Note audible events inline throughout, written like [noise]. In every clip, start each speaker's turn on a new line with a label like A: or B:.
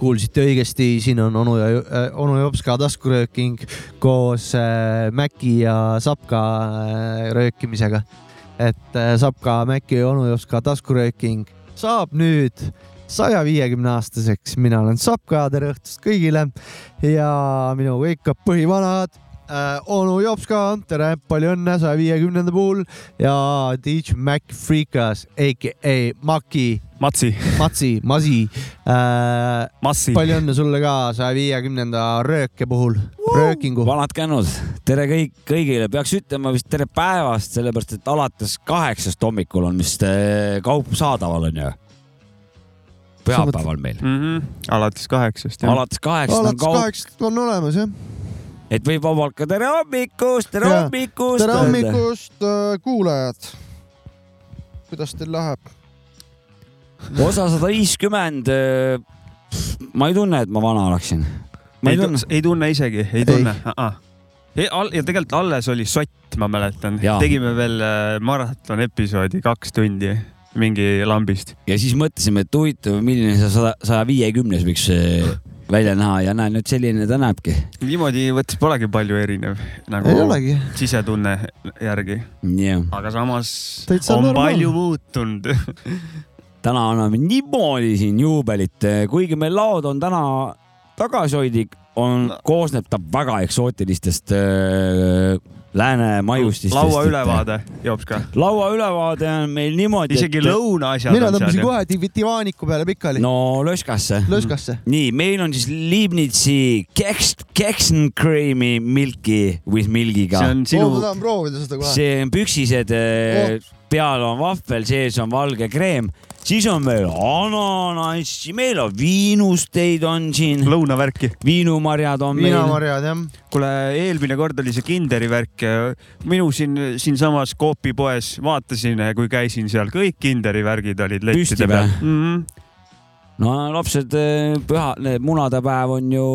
A: kuulsite õigesti , siin on onu ja äh, onu Jopska taskurööking koos äh, Mäki ja Sapka äh, röökimisega . et äh, Sapka , Mäki ja onu Jopska taskurööking saab nüüd saja viiekümne aastaseks , mina olen Sapka , tere õhtust kõigile ja minuga ikka põhivanad äh, . onu Jopska , tere , palju õnne saja viiekümnenda puhul ja Teach Mac Freekas , AKA Maki ,
B: Matsi ,
A: Matsi , Masi äh,
B: Massi ,
A: palju õnne sulle ka saja viiekümnenda rööke puhul , röökingu .
C: vanad kännud , tere kõik , kõigile , peaks ütlema vist tere päevast , sellepärast et alates kaheksast hommikul on vist eh, kaup saadaval onju . pühapäeval meil ,
B: mm . -hmm. alates kaheksast jah .
C: alates kaheksast on
B: Nagu
A: alates
C: kaup ,
A: kaheksast on olemas jah .
C: et võib vabalt ka tere hommikust , tere
A: Jaa.
C: hommikust .
A: tere . hommikust , kuulajad . kuidas teil läheb ?
C: osa sada viiskümmend . ma ei tunne , et ma vana oleksin . ma
B: ei
C: ei tunne
B: tunne ,, ei tunne isegi , ei tunne . ja tegelikult alles oli sott , ma mäletan
C: Jaa. .
B: tegime veel äh, maraton episoodi kaks tundi mingi lambist .
C: ja siis mõtlesime , et huvitav , milline see sada , saja viiekümnes võiks eh, välja näha ja näe nüüd selline ta näebki .
B: niimoodi võttes polegi palju erinev nagu
A: ei olegi .
B: sisetunne järgi ,
C: jah ,
B: aga samas
A: Täitsa
B: on
A: normaalne.
B: palju muutunud .
C: [laughs] täna anname niimoodi siin juubelit , kuigi meil laod on täna tagasihoidlik , on
B: No. ,
C: koosneb ta väga eksootilistest äh, lääne äh, maiustistest .
B: laua . ülevaade joob ka ,
C: laua ülevaade on meil niimoodi .
B: isegi . lõunaasjad
A: mina
B: on
A: tõmbasin
B: seal ju .
A: kohe div- divaaniku peale pikali ,
C: no lõskasse .
A: lõõskasse .
C: nii , meil on siis Leibnizi keks , keksenkreemi milki with milgiga
B: see . on
A: Sinu... Oh, ma
B: sinu ,
A: tahan proovida seda kohe .
C: see on püksised
A: Oh.
C: oh. , peal on vahvel , sees on valge kreem , siis on meil ananassi , meil on viinusteid on siin ,
B: lõunavärki .
C: viinumarjad on meil .
A: viinamarjad jah .
B: kuule , eelmine kord oli see Kinderi värk . minu siin , siinsamas Coopi poes vaatasin , kui käisin seal , kõik Kinderi värgid olid
C: Püsti
B: lettide
C: või?
B: peal mm .
A: Mhm.
B: -hmm.
C: no lapsed , püha , munadepäev on ju ,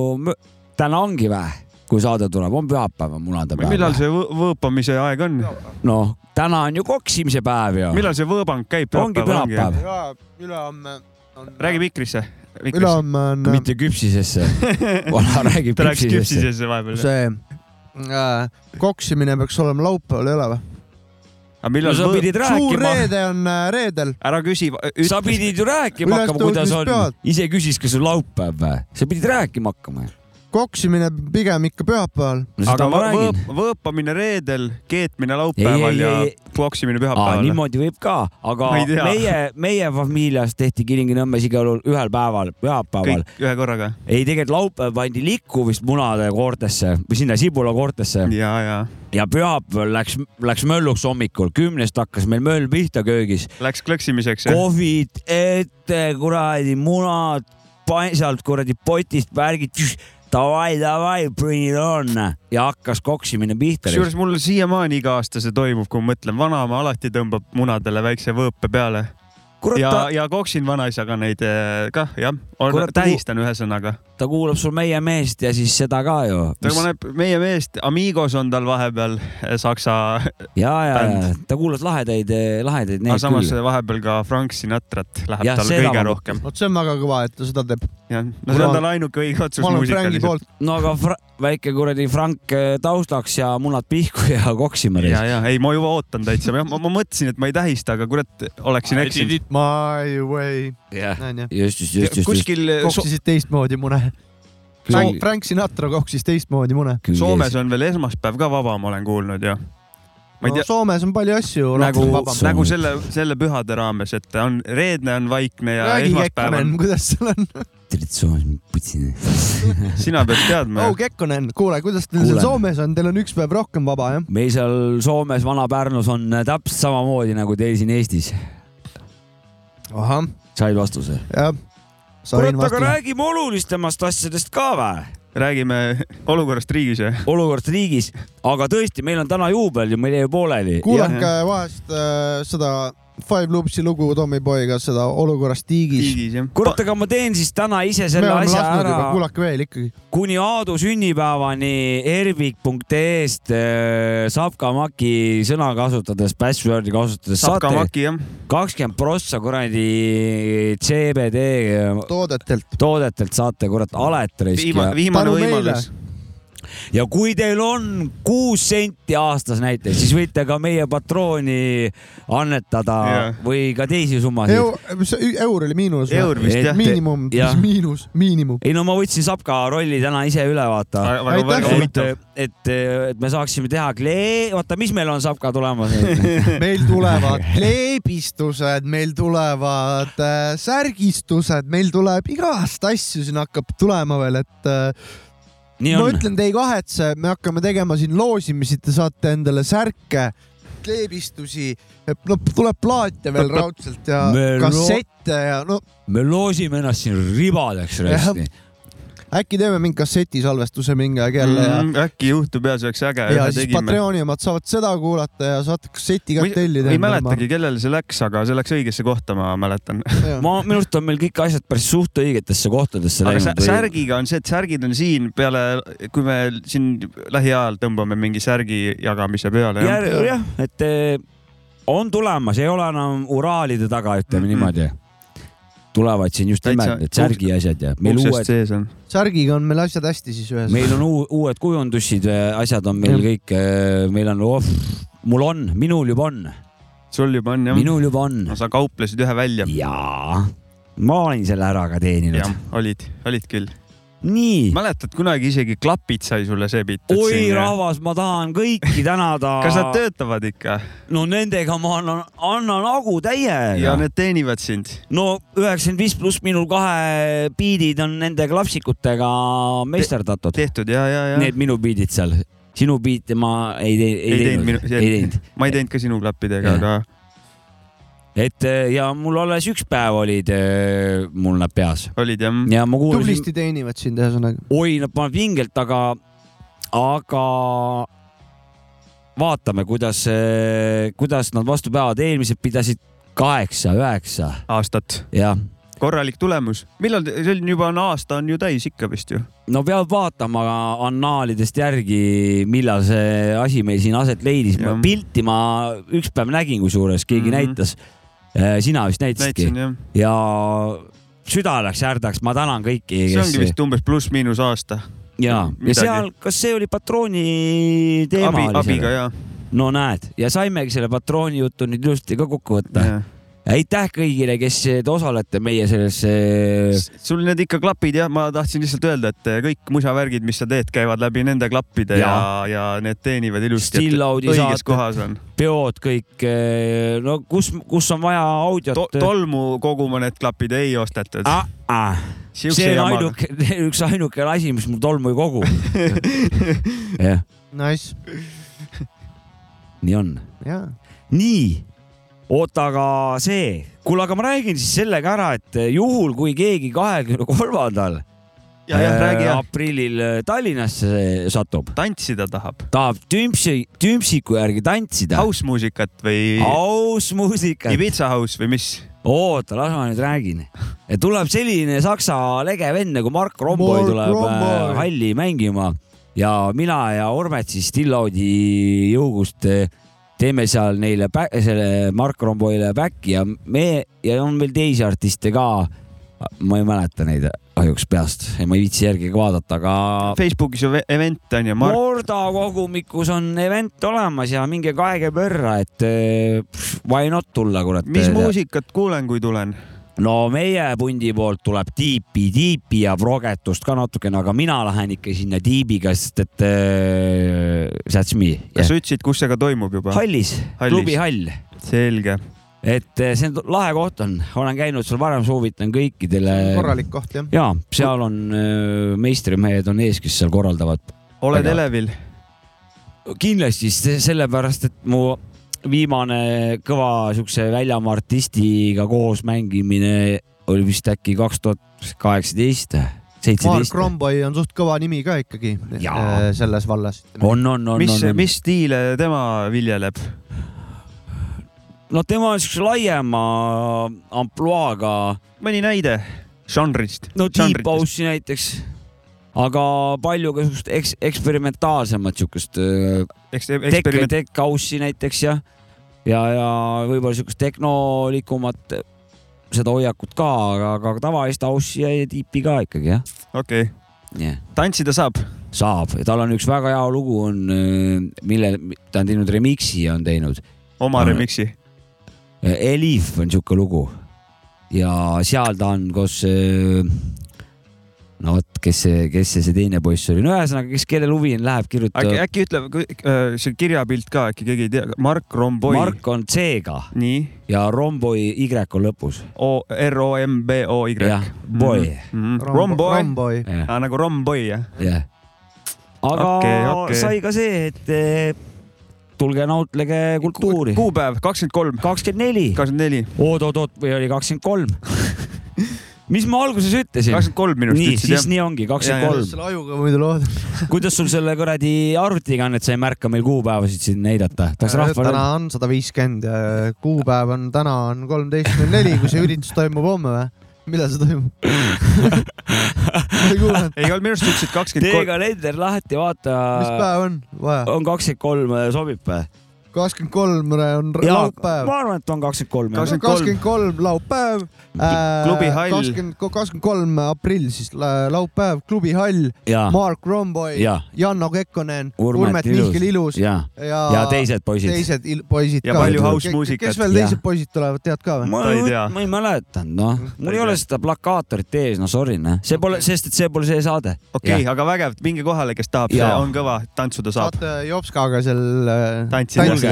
C: täna ongi vä , kui saade tuleb , on pühapäev , on
B: millal
C: munadepäev .
B: see võ- võõpamise aeg on ?
C: noh , täna on ju koksimise päev ju .
B: millal see võõbang käib ?
C: Ongi pühapäev.
A: ülehomme on .
B: räägi mikrisse .
A: ülehomme on äh,
C: mitte
A: [laughs]
C: küpsisesse . vana räägib
B: ta läks
C: küpsisesse .
B: küpsisesse vahepeal .
A: see äh, koksimine peaks olema laupäeval , ei ole või ?
B: aga
C: no
B: millal
C: sa
B: võõb-
C: pidid
A: suur
C: rääkima ,
A: reede on äh, reedel .
B: ära küsi ,
C: sa pidid ju rääkima hakkama , kuidas on
A: Ülestõusmispead. .
C: ise küsis , kas on laupäev vä , sa pidid rääkima hakkama ju
A: koksimine pigem ikka pühapäeval .
C: no
B: aga
C: seda ma
B: võ-
C: räägin .
B: võõp- võõpamine reedel , keetmine laupäeval
C: Ei, ei,
B: ja
C: ei,
B: poksimine
C: Aa,
B: pühapäeval .
C: niimoodi võib ka , aga
B: Ma ei tea.
C: meie , meie familias tehti Kilingi-Nõmmes igal juhul ühel päeval , pühapäeval .
B: kõik ühe korraga .
C: ei , tegelikult laupäev pandi likku vist munade koortesse või sinna sibulakoortesse
B: ja , ja
C: ja pühapäeval läks , läks mölluks hommikul , kümnest hakkas meil möll pihta köögis .
B: läks klõksimiseks .
C: kohvid ette , kuradi munad , sealt kuradi potist värgid , davai , davai , bring it on ja hakkas koksimine pihta .
B: kusjuures mul siiamaani iga aasta see toimub , kui ma mõtlen , vanaema alati tõmbab munadele väikse võõpe peale
C: kurat ,
B: ja
C: ta ,,
B: ja koksin vanaisaga neid eh, kah jah ,
C: Kurat,
B: tähistan ühesõnaga .
C: ta kuulab sul meie meest ja siis seda ka ju .
B: ta paneb meie meest , Amigos on tal vahepeal eh, saksa ,
C: ja , ja , ja
B: bänd.
C: ta kuulas lahedaid , lahedaid
B: aga
C: neid
B: samas
C: küll .
B: vahepeal ka Frank Sinatrat läheb
C: Jah,
B: tal
C: seda ma
B: kõige
C: mõtlen.
B: rohkem .
A: vot see on väga kõva , et ta seda teeb .
B: jah , no see
A: Mul on-
B: on tal ainuke õige otsus
A: ma olen Franki
B: muusikaliselt .
A: poolt .
C: no aga fra väike kuradi Frank eh, taustaks ja munad pihku ja koksima
B: ja
C: reis .,
B: ja ei , ma juba ootan täitsa , ma, ma mõtlesin , et ma ei tähista , aga kurat , oleksin eksinud .
A: My way , onju .
C: just , just , just , just , just .
B: kuskil so
A: koksisid teistmoodi mune . Frank , Frank Sinatra koksis teistmoodi mune .
B: Soomes on veel esmaspäev ka vaba , ma olen kuulnud ju . ma ei
A: No,
B: tea ,
A: Soomes on palju asju
B: nagu
A: rohkem vabam .
C: Soomes. ,
B: nagu selle , selle pühade raames , et on reedne on vaikne ja
A: räägi
B: esmaspäev on
A: Kekkonen , , kuidas sul on ?
C: traditsioon , putsin .
B: sina pead teadma
A: oh [laughs]
B: ju .
A: Kekkonen , kuule , kuidas teil seal
C: Kuulen.
A: Soomes on , teil on üks päev rohkem vaba jah ?
C: meil seal Soomes , Vana-Pärnus on eh, täpselt samamoodi nagu teil siin Eestis .
A: ahah ,
C: said vastuse ?
A: jah .
C: kurat ,
A: sain
C: aga
A: vastuse .
C: räägime olulisemast asjadest ka vä ?
B: räägime olukorrast riigis ja
C: olukord riigis , aga tõesti , meil on täna juubel ju , meil jäi ju pooleli .
A: kuulake vahest äh, seda Five Loopsi lugu Tommyboyga seda olukorrast tiigis .
B: tiigis jah .
C: kurat , aga ma teen siis täna ise
A: me
C: selle
A: oleme
C: asja
A: lasknud juba ,
C: ära .
A: kuulake veel ikkagi .
C: kuni Aadu sünnipäevani ervik.ee-st äh, Sapkamaki sõna kasutades , password'i kasutades saate
B: Sapkamaki jah .
C: kakskümmend prossa kuradi CBD
A: toodetelt .
C: äh, toodetelt saate kurat aletrist ja
B: viimane , viimane
A: Tänu
B: võimalus .
C: ja kui teil on kuus senti aastas näiteks , siis võite ka meie patrooni annetada
B: Jaa.
C: või ka teisi summasid .
A: eur oli miinus .
B: eur vist jah .
A: miinimum ,
C: Jah.
A: miinus ,
C: [laughs]
A: miinimum .
C: ei no ma võtsin Sapka rolli täna ise üle vaata .
B: väga , väga
A: Aitäh!
C: et ,
B: huvitav .
C: et , et me saaksime teha klee- , oota , mis meil on Sapka tulemas
A: [laughs]
C: nüüd ?
A: meil tulevad kleebistused , meil tulevad äh, särgistused , meil tuleb igast asju siin hakkab tulema veel , et äh,
C: nii
A: ma
C: on .
A: ütlen , te ei kahetse , me hakkame tegema siin loosimisi , te saate endale särke , kleebistusi , no tuleb plaate veel raudselt ja
C: Me lo-
A: kassette ja no
C: me loosime ennast siin ribadeks rösti .
A: äkki teeme mingi kassetisalvestuse mingi aeg jälle ja
B: Mm, äkki juhtub ja see oleks äge .
A: ja siis . Patreoni omad saavad seda kuulata ja saate kasseti ka tellida .
B: ei mäletagi , kellele see läks , aga see läks õigesse kohta , ma mäletan .
C: ma , minu arust on meil kõik asjad päris suht õigetesse kohtadesse
B: aga sär-
C: läinud .
B: särgiga on see , et särgid on siin peale , kui me siin lähiajal tõmbame mingi särgi jagamise peale .
C: jah , jah , et eh, on tulemas , ei ole enam Uraalide taga , ütleme
B: Mhm.
C: niimoodi . tulevad siin just
B: Täitsa
C: nimelt need särgi asjad ja meil
B: uksest
C: uued ,
B: sees on .
A: särgiga on meil asjad hästi siis ühes .
C: meil on uu- uued kujundusid , asjad on meil
A: Jah.
C: kõik , meil on oh, , mul on , minul juba on ,
B: sul juba on jah ?
C: minul juba on
B: no sa kauplesid ühe välja .
C: jaa , ma olen selle ära ka teeninud
B: jah ., olid , olid küll .
C: nii ,
B: mäletad kunagi isegi klapid sai sulle seebitud
C: oi . rahvas , ma tahan kõiki tänada .
B: kas nad töötavad ikka
C: no nendega ma annan , annan agu
B: ja, ja
C: täiega .
B: need teenivad sind ?
C: no üheksakümmend viis pluss minul kahe biidid on nende klapsikutega meisterdatud .
B: tehtud ja , ja , ja .
C: Need minu biidid seal , sinu biite ma ei teinud , ei teinud , ei teinud .
B: ma ei teinud ka sinu klappidega ,
C: Jah.
B: aga
C: et eh, ja mul alles üks päev olid eh, mul nad peas
B: olid jah .
C: ja ma kuulasin ,
A: tublisti teenivad sind ühesõnaga .
C: oi , nad panevad vingelt , aga , aga vaatame , kuidas , kuidas nad vastu peavad , eelmised pidasid kaheksa , üheksa ,
B: aastat ,
C: jah
B: korralik tulemus . millal , see on juba on aasta on ju täis ikka vist ju .
C: no peab vaatama annaalidest järgi , millal see asi meil siin aset leidis
B: Jah. .
C: pilti ma üks päev nägin , kusjuures keegi mm
B: Mhm.
C: -hmm. näitas . sina vist näitasidki
B: näitasin jah .
C: ja süda läks härdaks , ma tänan kõiki ,
B: see ongi
C: kes
B: vist umbes pluss-miinus aasta .
C: ja , ja
B: midagi.
C: seal , kas see oli patrooni teema
B: abi ,
C: oli
B: abiga
C: seal ?
B: ja,
C: no näed , ja saimegi selle patrooni juttu nüüd ilusti ka kokku võtta .
B: ja. .
C: aitäh kõigile , kes te osalete meie selles eh,
B: sul need ikka klapid jah , ma tahtsin lihtsalt öelda , et eh, kõik musavärgid , mis sa teed , käivad läbi nende klappide ja, ja , ja need teenivad ilusti .
C: Stillaudi
B: õiges
C: saate ,
B: kohas on
C: peod kõik , no kus , kus on vaja audiot
B: to . tolmu koguma need klapid ei ostetud .
C: ah, . Ah, see on ainuke , [laughs] üks ainukene asi , mis mul tolmu ei
B: [laughs]
C: kogu . jah ,
A: Nice ,
C: nii on .
A: jaa .
C: nii , oota , aga see , kuule , aga ma räägin siis sellega ära , et juhul kui keegi kahekümne kolmandal
B: ja , jah , räägi jah .
C: Äh, aprillil Tallinnasse satub ,
B: tantsida tahab .
C: tahab tümpsi , tümpsiku järgi tantsida ,
B: Housemuusikat või
C: aus muusika ,
B: Ibiza House või mis ?
C: oota , las ma nüüd räägin . tuleb selline saksa lege vend nagu Mark Romboi
A: Mark
C: tuleb
A: Romboi.
C: äh, halli mängima ja mina ja Ormet siis Stillaudi jõugust äh, teeme seal neile , selle Mark Romboile back'i ja me ja on veel teisi artiste ka . ma ei mäleta neid kahjuks peast , ma ei viitsi järgi ka vaadata , aga
B: Facebookis ju ve- event on ju , Mark .
C: Morda kogumikus on event olemas ja minge kaege pörra , et äh, pff, why not tulla , kurat .
B: mis muusikat kuulen , kui tulen ?
C: no meie pundi poolt tuleb tiipi , tiipi ja progetust ka natukene , aga mina lähen ikka sinna tiibiga , sest et äh, that's me .
B: kas sa ütlesid , kus see ka toimub juba ?
C: hallis,
B: Hallis.
C: hallis. , klubi hall ,
B: selge .
C: et äh, see on t- lahe koht on , olen käinud seal varem , soovitan kõikidele .
A: korralik koht jah .
C: ja seal on äh, meistrimehed on ees , kes seal korraldavad .
B: oled
C: Väga-
B: elevil ?
C: kindlasti s- sellepärast , et mu viimane kõva siukse väljamaa artistiga koos mängimine oli vist äkki kaks tuhat kaheksateist ,
A: Mark
C: seitseteist .
A: Romboi on suht kõva nimi ka ikkagi
C: Jaa.
A: eh, selles vallas .
C: on , on , on ,
B: mis
C: on ,, on .
B: mis stiile tema viljeleb ?
C: noh , tema on siukse laiema ampluaaga ,
B: mõni näide žanrist .
C: no Deep House'i näiteks , aga palju ka siukest eks- , eksperimentaalsemat siukest äh, tech ,
B: eksperiment ,
C: tech house'i näiteks ja , ja , ja võib-olla siukest tehnolikumat seda hoiakut ka , aga , aga tavalist house'i ja tiipi ka ikkagi jah
B: okei okay. ,
C: yeah. .
B: tantsida saab ,
C: saab , tal on üks väga hea lugu on , mille ta on teinud remix'i on teinud .
B: oma
C: No.
B: remix'i .
C: Elif on sihuke lugu ja seal ta on koos . no vot , kes see , kes see , see teine poiss oli , no ühesõnaga , kes , kellel huvi on , läheb
B: äkki ,
C: kirjutab .
B: äkki ütle kui- äh, see kirjapilt ka äkki keegi ei tea , Mark Romboi .
C: Mark on C-ga
B: nii ,
C: ja Romboi Y on lõpus .
B: O , R O M B O Y . Mhm.
C: jah , boy ,
B: Romboi ,
A: Romboi .
C: jah ,
B: nagu Romboi jah ,
C: jah . aga okay,
B: Okei,
C: okay.
B: okei.
C: sai ka see , et eh, tulge nautlege kultuuri .
B: kuupäev kakskümmend kolm ,
C: kakskümmend neli ,
B: kakskümmend neli ,
C: oot-oot-oot või oli kakskümmend kolm ? mis ma alguses ütlesin ?
B: kakskümmend kolm minu
C: nii ,
B: arust
C: siis
B: ütlesid
C: jah. nii ongi , kakskümmend
B: Ja, ja.
C: kolm .
A: selle ajuga muidu lood .
C: [laughs] kuidas sul selle kuradi arvutiga on , et sa ei märka meil kuupäevasid siin näidata ? tahaks rahvale
A: Äh, täna , on sada viiskümmend ja kuupäev on täna on kolmteist null neli , kui see üritus toimub homme või ? millal see toimub ? ma ei kuulnud ,
B: jah , [laughs] ei olnud minu arust ütlesid
C: tee
B: kakskümmend kolm ,
C: kalender lahti ,
A: mis
C: vaata ,
A: päev on vaja ?
C: on kakskümmend kolm , sobib või ?
A: kakskümmend kolm on laupäev .
C: ma arvan , et on kakskümmend kolm jah .
B: Kas-
A: kakskümmend kolm laupäev .
B: Klubi Hall.
A: kakskümmend , kakskümmend kolm aprill siis la- laupäev , klubi Hall ,
C: ja ,
A: Mark Romboi ,
C: ja ,
A: Janno Kekkonen ,
C: Urmet
A: Urmet
C: Ilus.
A: Mihkel Ilus
C: ja ,
A: ja,
C: ja teised poisid .
A: teised il- poisid
B: Ja
A: ka .
C: palju
B: house-muusikat.
A: kes
C: Jah.
A: veel teised poisid tulevad , tead ka või ?
C: ma
B: Ta ei tea.
C: ma ei mäletanud , noh , mul ei ole seda plakaatorit ees , no sorry , noh , see pole , sest et see pole see saade .
B: okei , aga vägev , minge kohale , kes tahab , see
C: Jaa.
B: on kõva , tantsuda saab ,
A: saate Jopskaga seal äh,
B: Tantsida.
A: tantsida.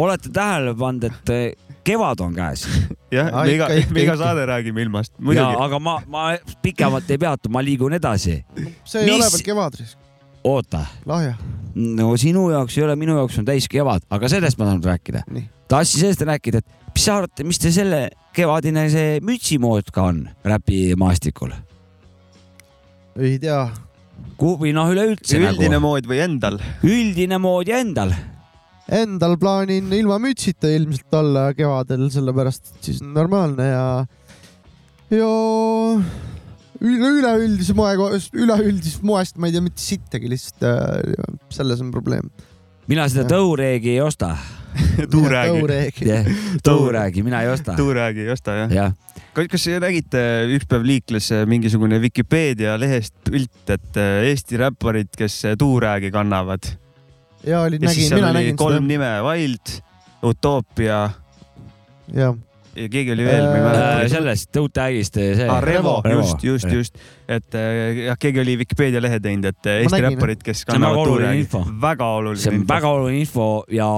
C: olete tähele pannud , et eh, kevad on käes
B: [laughs] jah ,
A: Aa,
B: me iga
A: ikka, , ikka,
B: me iga
A: ikka.
B: saade räägime ilmast ,
C: ja
B: muidugi ,
C: aga ma , ma pikemalt ei peatu , ma liigun edasi .
A: see ei
C: Mis-
A: ole veel kevadrisk ,
C: oota ,
A: lahja .
C: no sinu jaoks ei ole , minu jaoks on täis kevad , aga sellest ma tahan rääkida
A: Nii. .
C: tahtsin sellest rääkida , et mis sa arvad , mis te selle kevadine see mütsimood ka on räpimaastikul ?
A: ei tea ,
C: kuhu või noh , üleüldse
B: üldine
C: nagu ,
B: mood või endal ,
C: üldine mood ja endal .
A: endal plaanin ilma mütsita ilmselt olla kevadel , sellepärast et siis on normaalne ja , ja üle , üleüldise moe , üleüldisest moest ma ei tea mitte sittagi lihtsalt äh, , selles on probleem .
C: mina seda
A: Jah.
C: tõureegi ei
B: [laughs]
C: osta ,
B: tuuräägi ,
C: tõureegi mina ei osta ,
B: tuuräägi ei osta jah .
C: jah .
B: kas , kas te nägite , üks päev liikles äh, mingisugune Vikipeedia lehest pilt , et äh, Eesti räpparid , kes äh, tuuräägi kannavad
A: ja olin ,
B: ja siis
A: nägin ,
B: seal
A: mina
B: oli
A: nägin
B: kolm
A: seda ,
B: nime , Wild , Utopia
A: jah .
B: ja keegi oli veel , ma ei
A: Äh,
B: mäleta .
C: sellest tõutäägist see
B: Ah, . Revo ,
C: Revo.
B: just , just , just , et äh, jah , keegi oli Vikipeedia lehe teinud , et äh, Eesti
A: nägin, jah.
B: räpparid , kes
C: on väga
B: kannavad
C: oluline
B: tuuräägi
C: info. ,
B: väga oluline
C: see on väga oluline info ja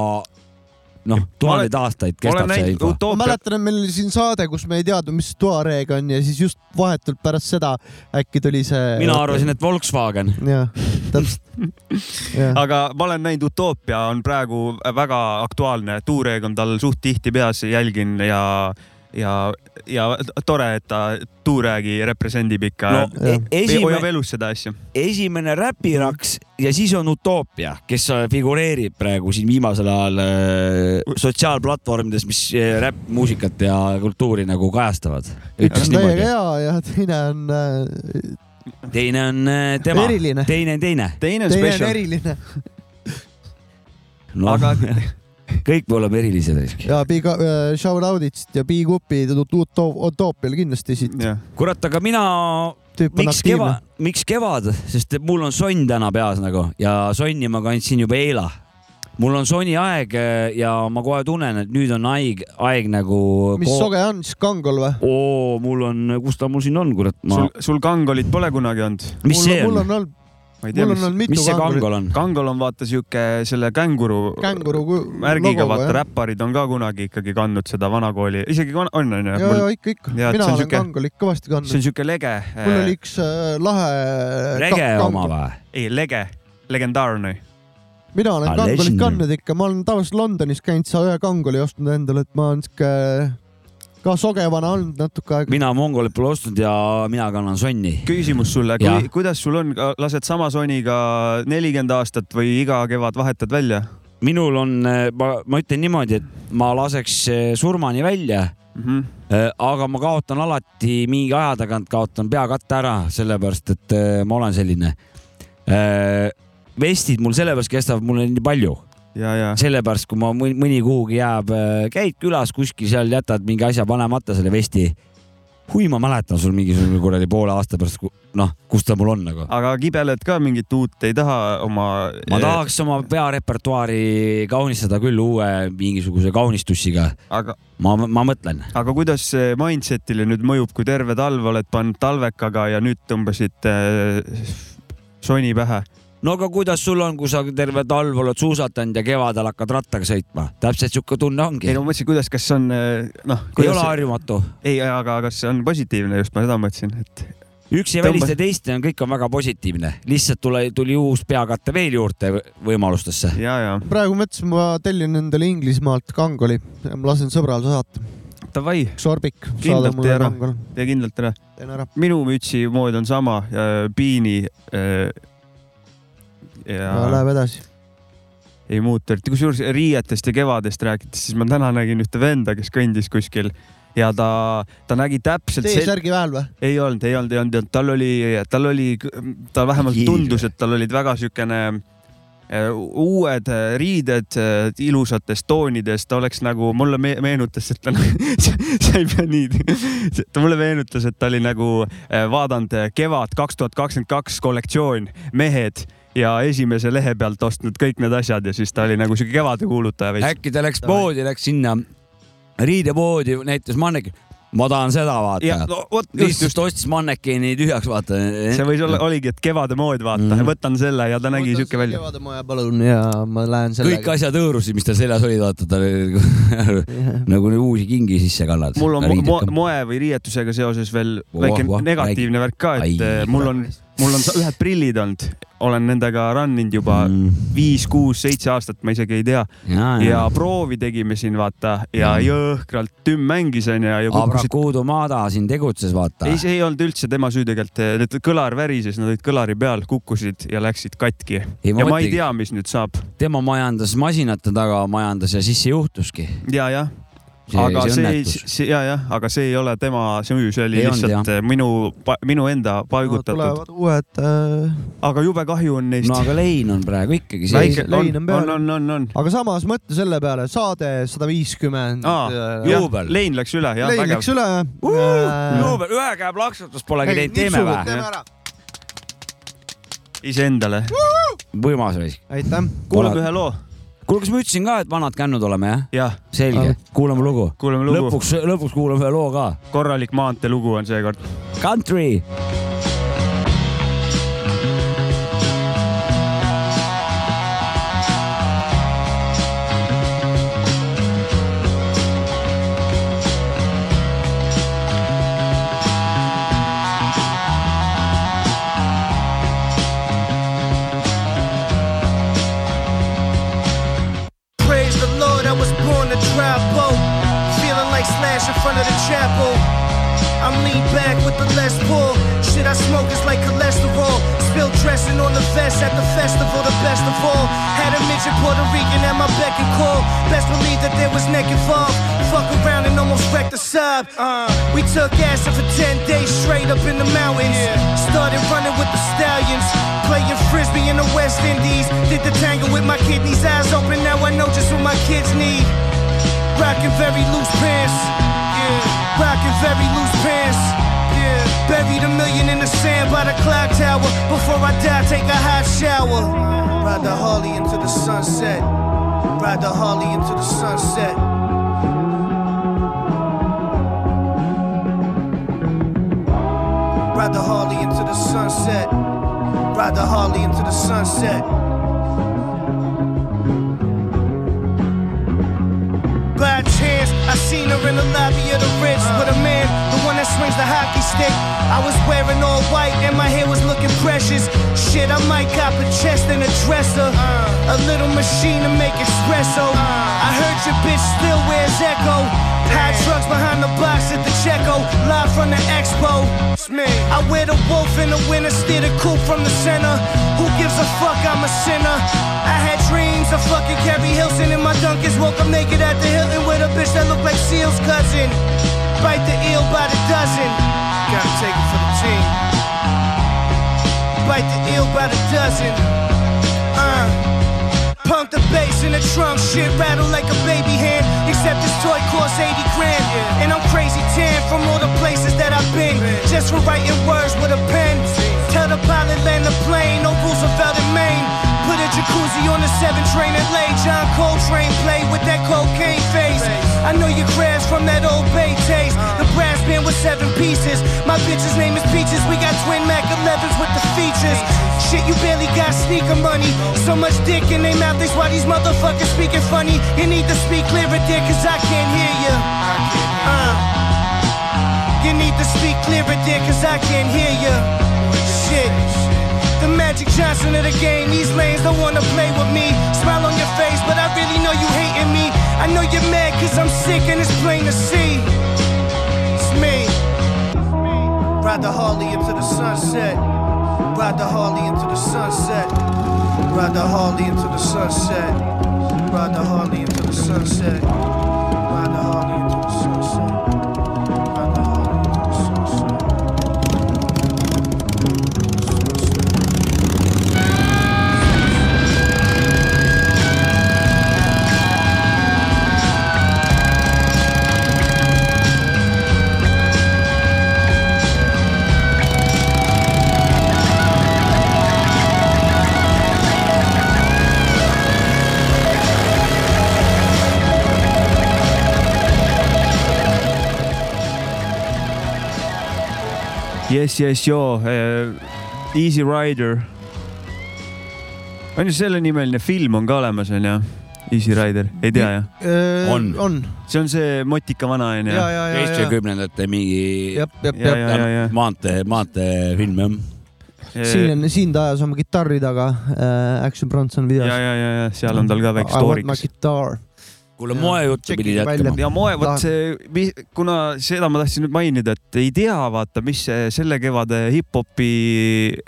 C: noh , tuhandeid aastaid
B: olen
C: kestab see
B: näinud
C: info .
A: ma
B: Utopia ,
A: mäletan , et meil oli siin saade , kus me ei teadnud , mis tuareeg on ja siis just vahetult pärast seda äkki tuli see .
C: mina arvasin , et Volkswagen .
A: jah , täpselt .
C: [laughs]
A: jah ,
B: aga ma olen näinud , Utopia on praegu väga aktuaalne , tuurääg on tal suht tihti peas , jälgin ja , ja , ja tore , et ta tuuräägi represendib ikka
C: no
B: no, .
A: Jah.
C: e- esimene
B: hoiab , elus seda asja .
C: esimene räpiraks ja siis on Utopia , kes äh, figureerib praegu siin viimasel ajal äh, sotsiaalplatvormides , mis äh, räppmuusikat ja kultuuri nagu kajastavad . ütleks
A: üks on
C: niimoodi .
A: täiega hea ja teine on äh,
C: teine on äh, tema ,
A: eriline ,
C: teine on teine
B: teine on
A: teine on
B: spetsial ,
A: eriline
C: no, .
B: aga
C: aga [laughs] kõik me oleme erilised .
A: ja Big uh, Shout Out'it ja Big Upi utoopial kindlasti siit
B: jah ,
C: kurat , aga mina ,
A: tüüp on
C: miks
A: aktiivne
C: kevad , miks kevad , sest et mul on sonn täna peas nagu ja sonni ma kandsin juba eile mul on soni aeg äh, ja ma kohe tunnen , et nüüd on aeg , aeg nagu .
A: mis soge on siis , Kangol või ?
C: oo , mul on , kus ta mul siin on , kurat , ma
B: sul , sul kangolit pole kunagi olnud ?
C: mis see
A: mul
C: on ,
A: on olnud ,
B: ma ei tea ,
A: mul on
B: mis ,
A: olnud mitu
C: mis see
A: kangol ,
C: kangol on ?
B: kangol on vaata sihuke selle känguru
A: känguru ku-
B: märgiga ,
A: logoga,
B: vaata
A: jah.
B: räpparid on ka kunagi ikkagi kandnud seda vanakooli , isegi on , on , on
A: ja , ja
B: ju .
A: ikka , ikka ,
B: Jaa, et see on
A: mina olen
B: sihuke-
A: kangolit kõvasti kandnud
B: see on sihuke lege ,
A: mul oli üks äh, lahe . äh,
C: rege oma ? või ?
B: ei lege , legendaarne .
A: mina olen
C: Ah,
A: kangolit
C: legendary.
A: kandnud ikka , ma olen tavaliselt Londonis käinud , sa ühe kangoli ostnud endale , et ma olen siuke ka sogevana olnud natuke aega .
C: mina Mongolit pole ostnud ja mina kannan sonni .
B: küsimus sulle ,
C: Jah.
B: kuidas sul on , lased sama soniga nelikümmend aastat või iga kevad vahetad välja ?
C: minul on , äh, ma , ma ütlen niimoodi , et ma laseks eh, surmani välja
B: mm . -hmm.
C: Eh, aga ma kaotan alati mingi aja tagant kaotan peakatte ära , sellepärast et eh, ma olen selline . vestid mul sellepärast kestavad mulle nii palju ,
B: ja , ja
C: sellepärast kui ma mõni, mõni kuhugi jääb , käid külas kuskil seal , jätad mingi asja panemata selle vesti . hui , ma mäletan sul mingisugune kuradi poole aasta pärast , noh , kus ta mul on nagu .
B: aga kibeled ka mingit uut ei taha oma ? eh,
C: ma . tahaks oma pearepertuaari kaunistada küll uue mingisuguse kaunistussiga ,
B: aga ,
C: ma , ma mõtlen .
B: aga kuidas see mindset'ile nüüd mõjub , kui terve talv oled pannud talvekaga ja nüüd tõmbasid äh, soni pähe ?
C: no aga kuidas sul on , kui sa terve talv oled suusatanud ja kevadel hakkad rattaga sõitma , täpselt sihuke tunne ongi
B: ei . no ma mõtlesin , kuidas , kas see on äh, noh ,
C: ei ole harjumatu ,
B: ei , aga kas see on positiivne just , ma seda mõtlesin , et
C: üks ei
B: Tõmbas-
C: välista teist ja kõik on väga positiivne , lihtsalt tule , tuli uus peakatte veel juurde võ- võimalustesse .
B: ja , ja
A: praegu mõtlesin , ma tellin endale Inglismaalt kangoli , ma lasen sõbral saata ,
B: davai ,
A: üks orbik ,
B: Kindlalt
A: saada mulle
B: ära.
A: kangol ,
B: tee kindlalt ära .
A: teen ära .
B: minu mütsi mood on sama , piini äh, . ja
A: Läheb edasi .
B: ei muutu , et kusjuures riietest ja kevadest rääkides , siis ma täna nägin ühte venda , kes kõndis kuskil ja ta , ta nägi täpselt
A: tee
B: sel- ,
A: särgi väel või ?
B: ei olnud , ei olnud , ei olnud , tal oli , tal oli , ta vähemalt
C: Kiire.
B: tundus , et tal olid väga siukene eh, uued eh, riided eh, ilusates toonides , ta oleks nagu , mulle me- meenutas , et ta , [laughs] sa ei pea nii , [laughs] ta mulle meenutas , et ta oli nagu eh, vaadanud eh, Kevad kaks tuhat kakskümmend kaks kollektsioon Mehed ja esimese lehe pealt ostnud kõik need asjad ja siis ta oli nagu siuke kevade kuulutaja veits .
C: äkki ta läks poodi , läks sinna riidepoodi , näitas manneki , ma tahan seda
B: ja
C: vaata .
B: no vot , just , just
C: lihtsalt ostis mannekeeni tühjaks , vaata .
B: see võis olla , oligi , et kevade mood , vaata mm ,
C: Mhm.
B: -hmm. võtan selle ja ta nägi siuke välja .
A: kevademaja palun ja ma lähen
C: kõik
A: sellega .
C: asjad hõõrusid , mis tal seljas olid , vaata ta
A: [laughs]
C: oli nagu nii uusi kingi sisse kallad .
B: mul on mo mo- moe või riietusega seoses veel
C: Voh,
B: väike
C: voh,
B: negatiivne värk ka , et
C: Ai,
B: eh, mul on , mul on sa- ühed prillid olnud , olen nendega run inud juba
C: Mm.
B: viis , kuus , seitse aastat , ma isegi ei tea .
C: ja ,
B: ja
C: ja .
B: proovi tegime siin vaata ja jõhkralt tümm mängis onju ja kukkusid .
C: Abrakuudu Mada siin tegutses , vaata
B: ei ,. see ei olnud üldse tema süü tegelikult , need kõlar värises , nad olid kõlari peal , kukkusid ja läksid katki .
C: ei ,
B: ja ma ei , tea , mis nüüd saab .
C: tema majandas masinate taga , majandas ja siis see juhtuski .
B: ja , jah .
C: see
B: aga see, see ,
C: õnnetus .
B: see ja , jah , aga see ei ole tema süü , see oli
C: Ei
B: ei
C: olnud,
B: lihtsalt olnud, minu , minu enda paigutatud .
A: tulevad uued äh, ,
B: aga jube kahju on neist
C: no . aga lein on praegu ikkagi sees
A: Väike- .
B: on
A: lein , on peal.
B: on , on , on , on .
A: aga samas mõtle selle peale , saade sada viiskümmend .
C: jah.
A: lein
C: juubel.
B: lein läks üle , jah , vägev
A: läks . üle . Äh,
C: juubel , ühe käe plaksutus polegi teinud , teeme või ?
A: teeme ära .
B: iseendale .
C: võimas või ?
A: aitäh .
B: kuulame
C: Oled-
B: ühe loo .
C: kuule , kas ma ütlesin ka , et vanad kännud oleme , jah ?
B: jah ,
C: selge , kuulame lugu .
B: kuulame lugu .
C: lõpuks , lõpuks kuulame ühe loo ka .
B: korralik maanteelugu on seekord .
C: Country .
D: Praise the Lord, I was born to travel. Feeling like Slash in front of the chapel. I'm lean back with the less pull. Shit I smoke is like cholesterol. Spill dressing on the vest at the festival, the best of all. Had a midget Puerto Rican at my beck and call. Best believe that there was neck involved. Fuck around and almost wrecked the sub. Uh, we took acid for 10 days straight up in the mountains. Started running with the stallions. Playing frisbee in the West Indies. Did the tango with my kidneys, eyes open. Now I know just what my kids need. Rockin' very loose pants. Yeah. Rockin' very loose pants. Yeah. Buried a million in the sand by the clock tower. Before I die, take a hot shower. Ride the Harley into the sunset. Ride the Harley into the sunset. Ride the Harley into the sunset. Ride the Harley into the sunset. By chance, I seen her in the lobby of the Ritz with a man, the one that swings the hockey stick. I was wearing all white and my hair was looking precious. Shit, I might cop a chest and a dresser, a little machine to make espresso. I heard your bitch still wears Echo. High trucks behind the box at the Checo, live from the expo. It's me. I wear the wolf in the winter, steer the coupe from the center. Who gives a fuck? I'm a sinner. I had dreams of fucking Carrie Hilson in my Dunkers. Woke up naked at the Hilton his cousin. Bite the eel by the dozen. Gotta take it for the team. Bite the eel by the dozen. Uh. Pump the bass in the trunk, shit rattle like a baby hand. Except this toy costs 80 grand. And I'm crazy tan from all the places that I've been. Just for writing words with a pen. Tell the pilot land the plane, no Roosevelt in Maine. Put a jacuzzi on the 7 train and lay John Coltrane play with that cocaine face. I know your crabs from that old bay taste. The brass band with seven pieces. My bitch's name is Peaches. We got twin Mac 11s with the features. Shit, you barely got sneaker money. So much dick in they mouth, that's why these motherfuckers speaking funny. You need to speak clearer, dear, cause I can't hear you. Uh. You need to speak clearer, dear, cause I can't hear you. Shit. The Magic Johnson of the game, these lanes don't wanna play with me. Smile on your face, but I really know you hating me. I know you're mad cause I'm sick and it's plain to see. It's me. Ride the Harley into the sunset. Ride the Harley into the sunset. Ride the Harley into the sunset. Ride the Harley into the sunset. Ride the Harley into the sunset. Ride the Harley into the sunset.
B: Yes , yes , joo , Easy Rider . on ju sellenimeline film on ka olemas , onju ? Easy Rider , ei tea jah ?
C: Äh, On.
A: on ,
B: see on see motika vana onju .
A: ja , ja , ja , ja ,
C: seitsmekümnendate mingi
A: jep , jep ,
B: ja ,
A: jep .
B: ja , ja ,
C: maantee , maanteefilm jah .
B: ja ,
A: siin , siin ta ajas oma kitarri taga äh, Action Bronson videos
B: ja ,. ja , ja seal on tal ka väike stooriks .
A: stooriks .
C: kuule ,
A: Jaa.
C: moejuttu
A: Tšekkige
C: pidid
A: välja.
C: jätkama .
B: ja moe , vot
A: Tahan-
B: see , kuna seda ma tahtsin nüüd mainida , et ei tea , vaata , mis see selle kevade hip-hopi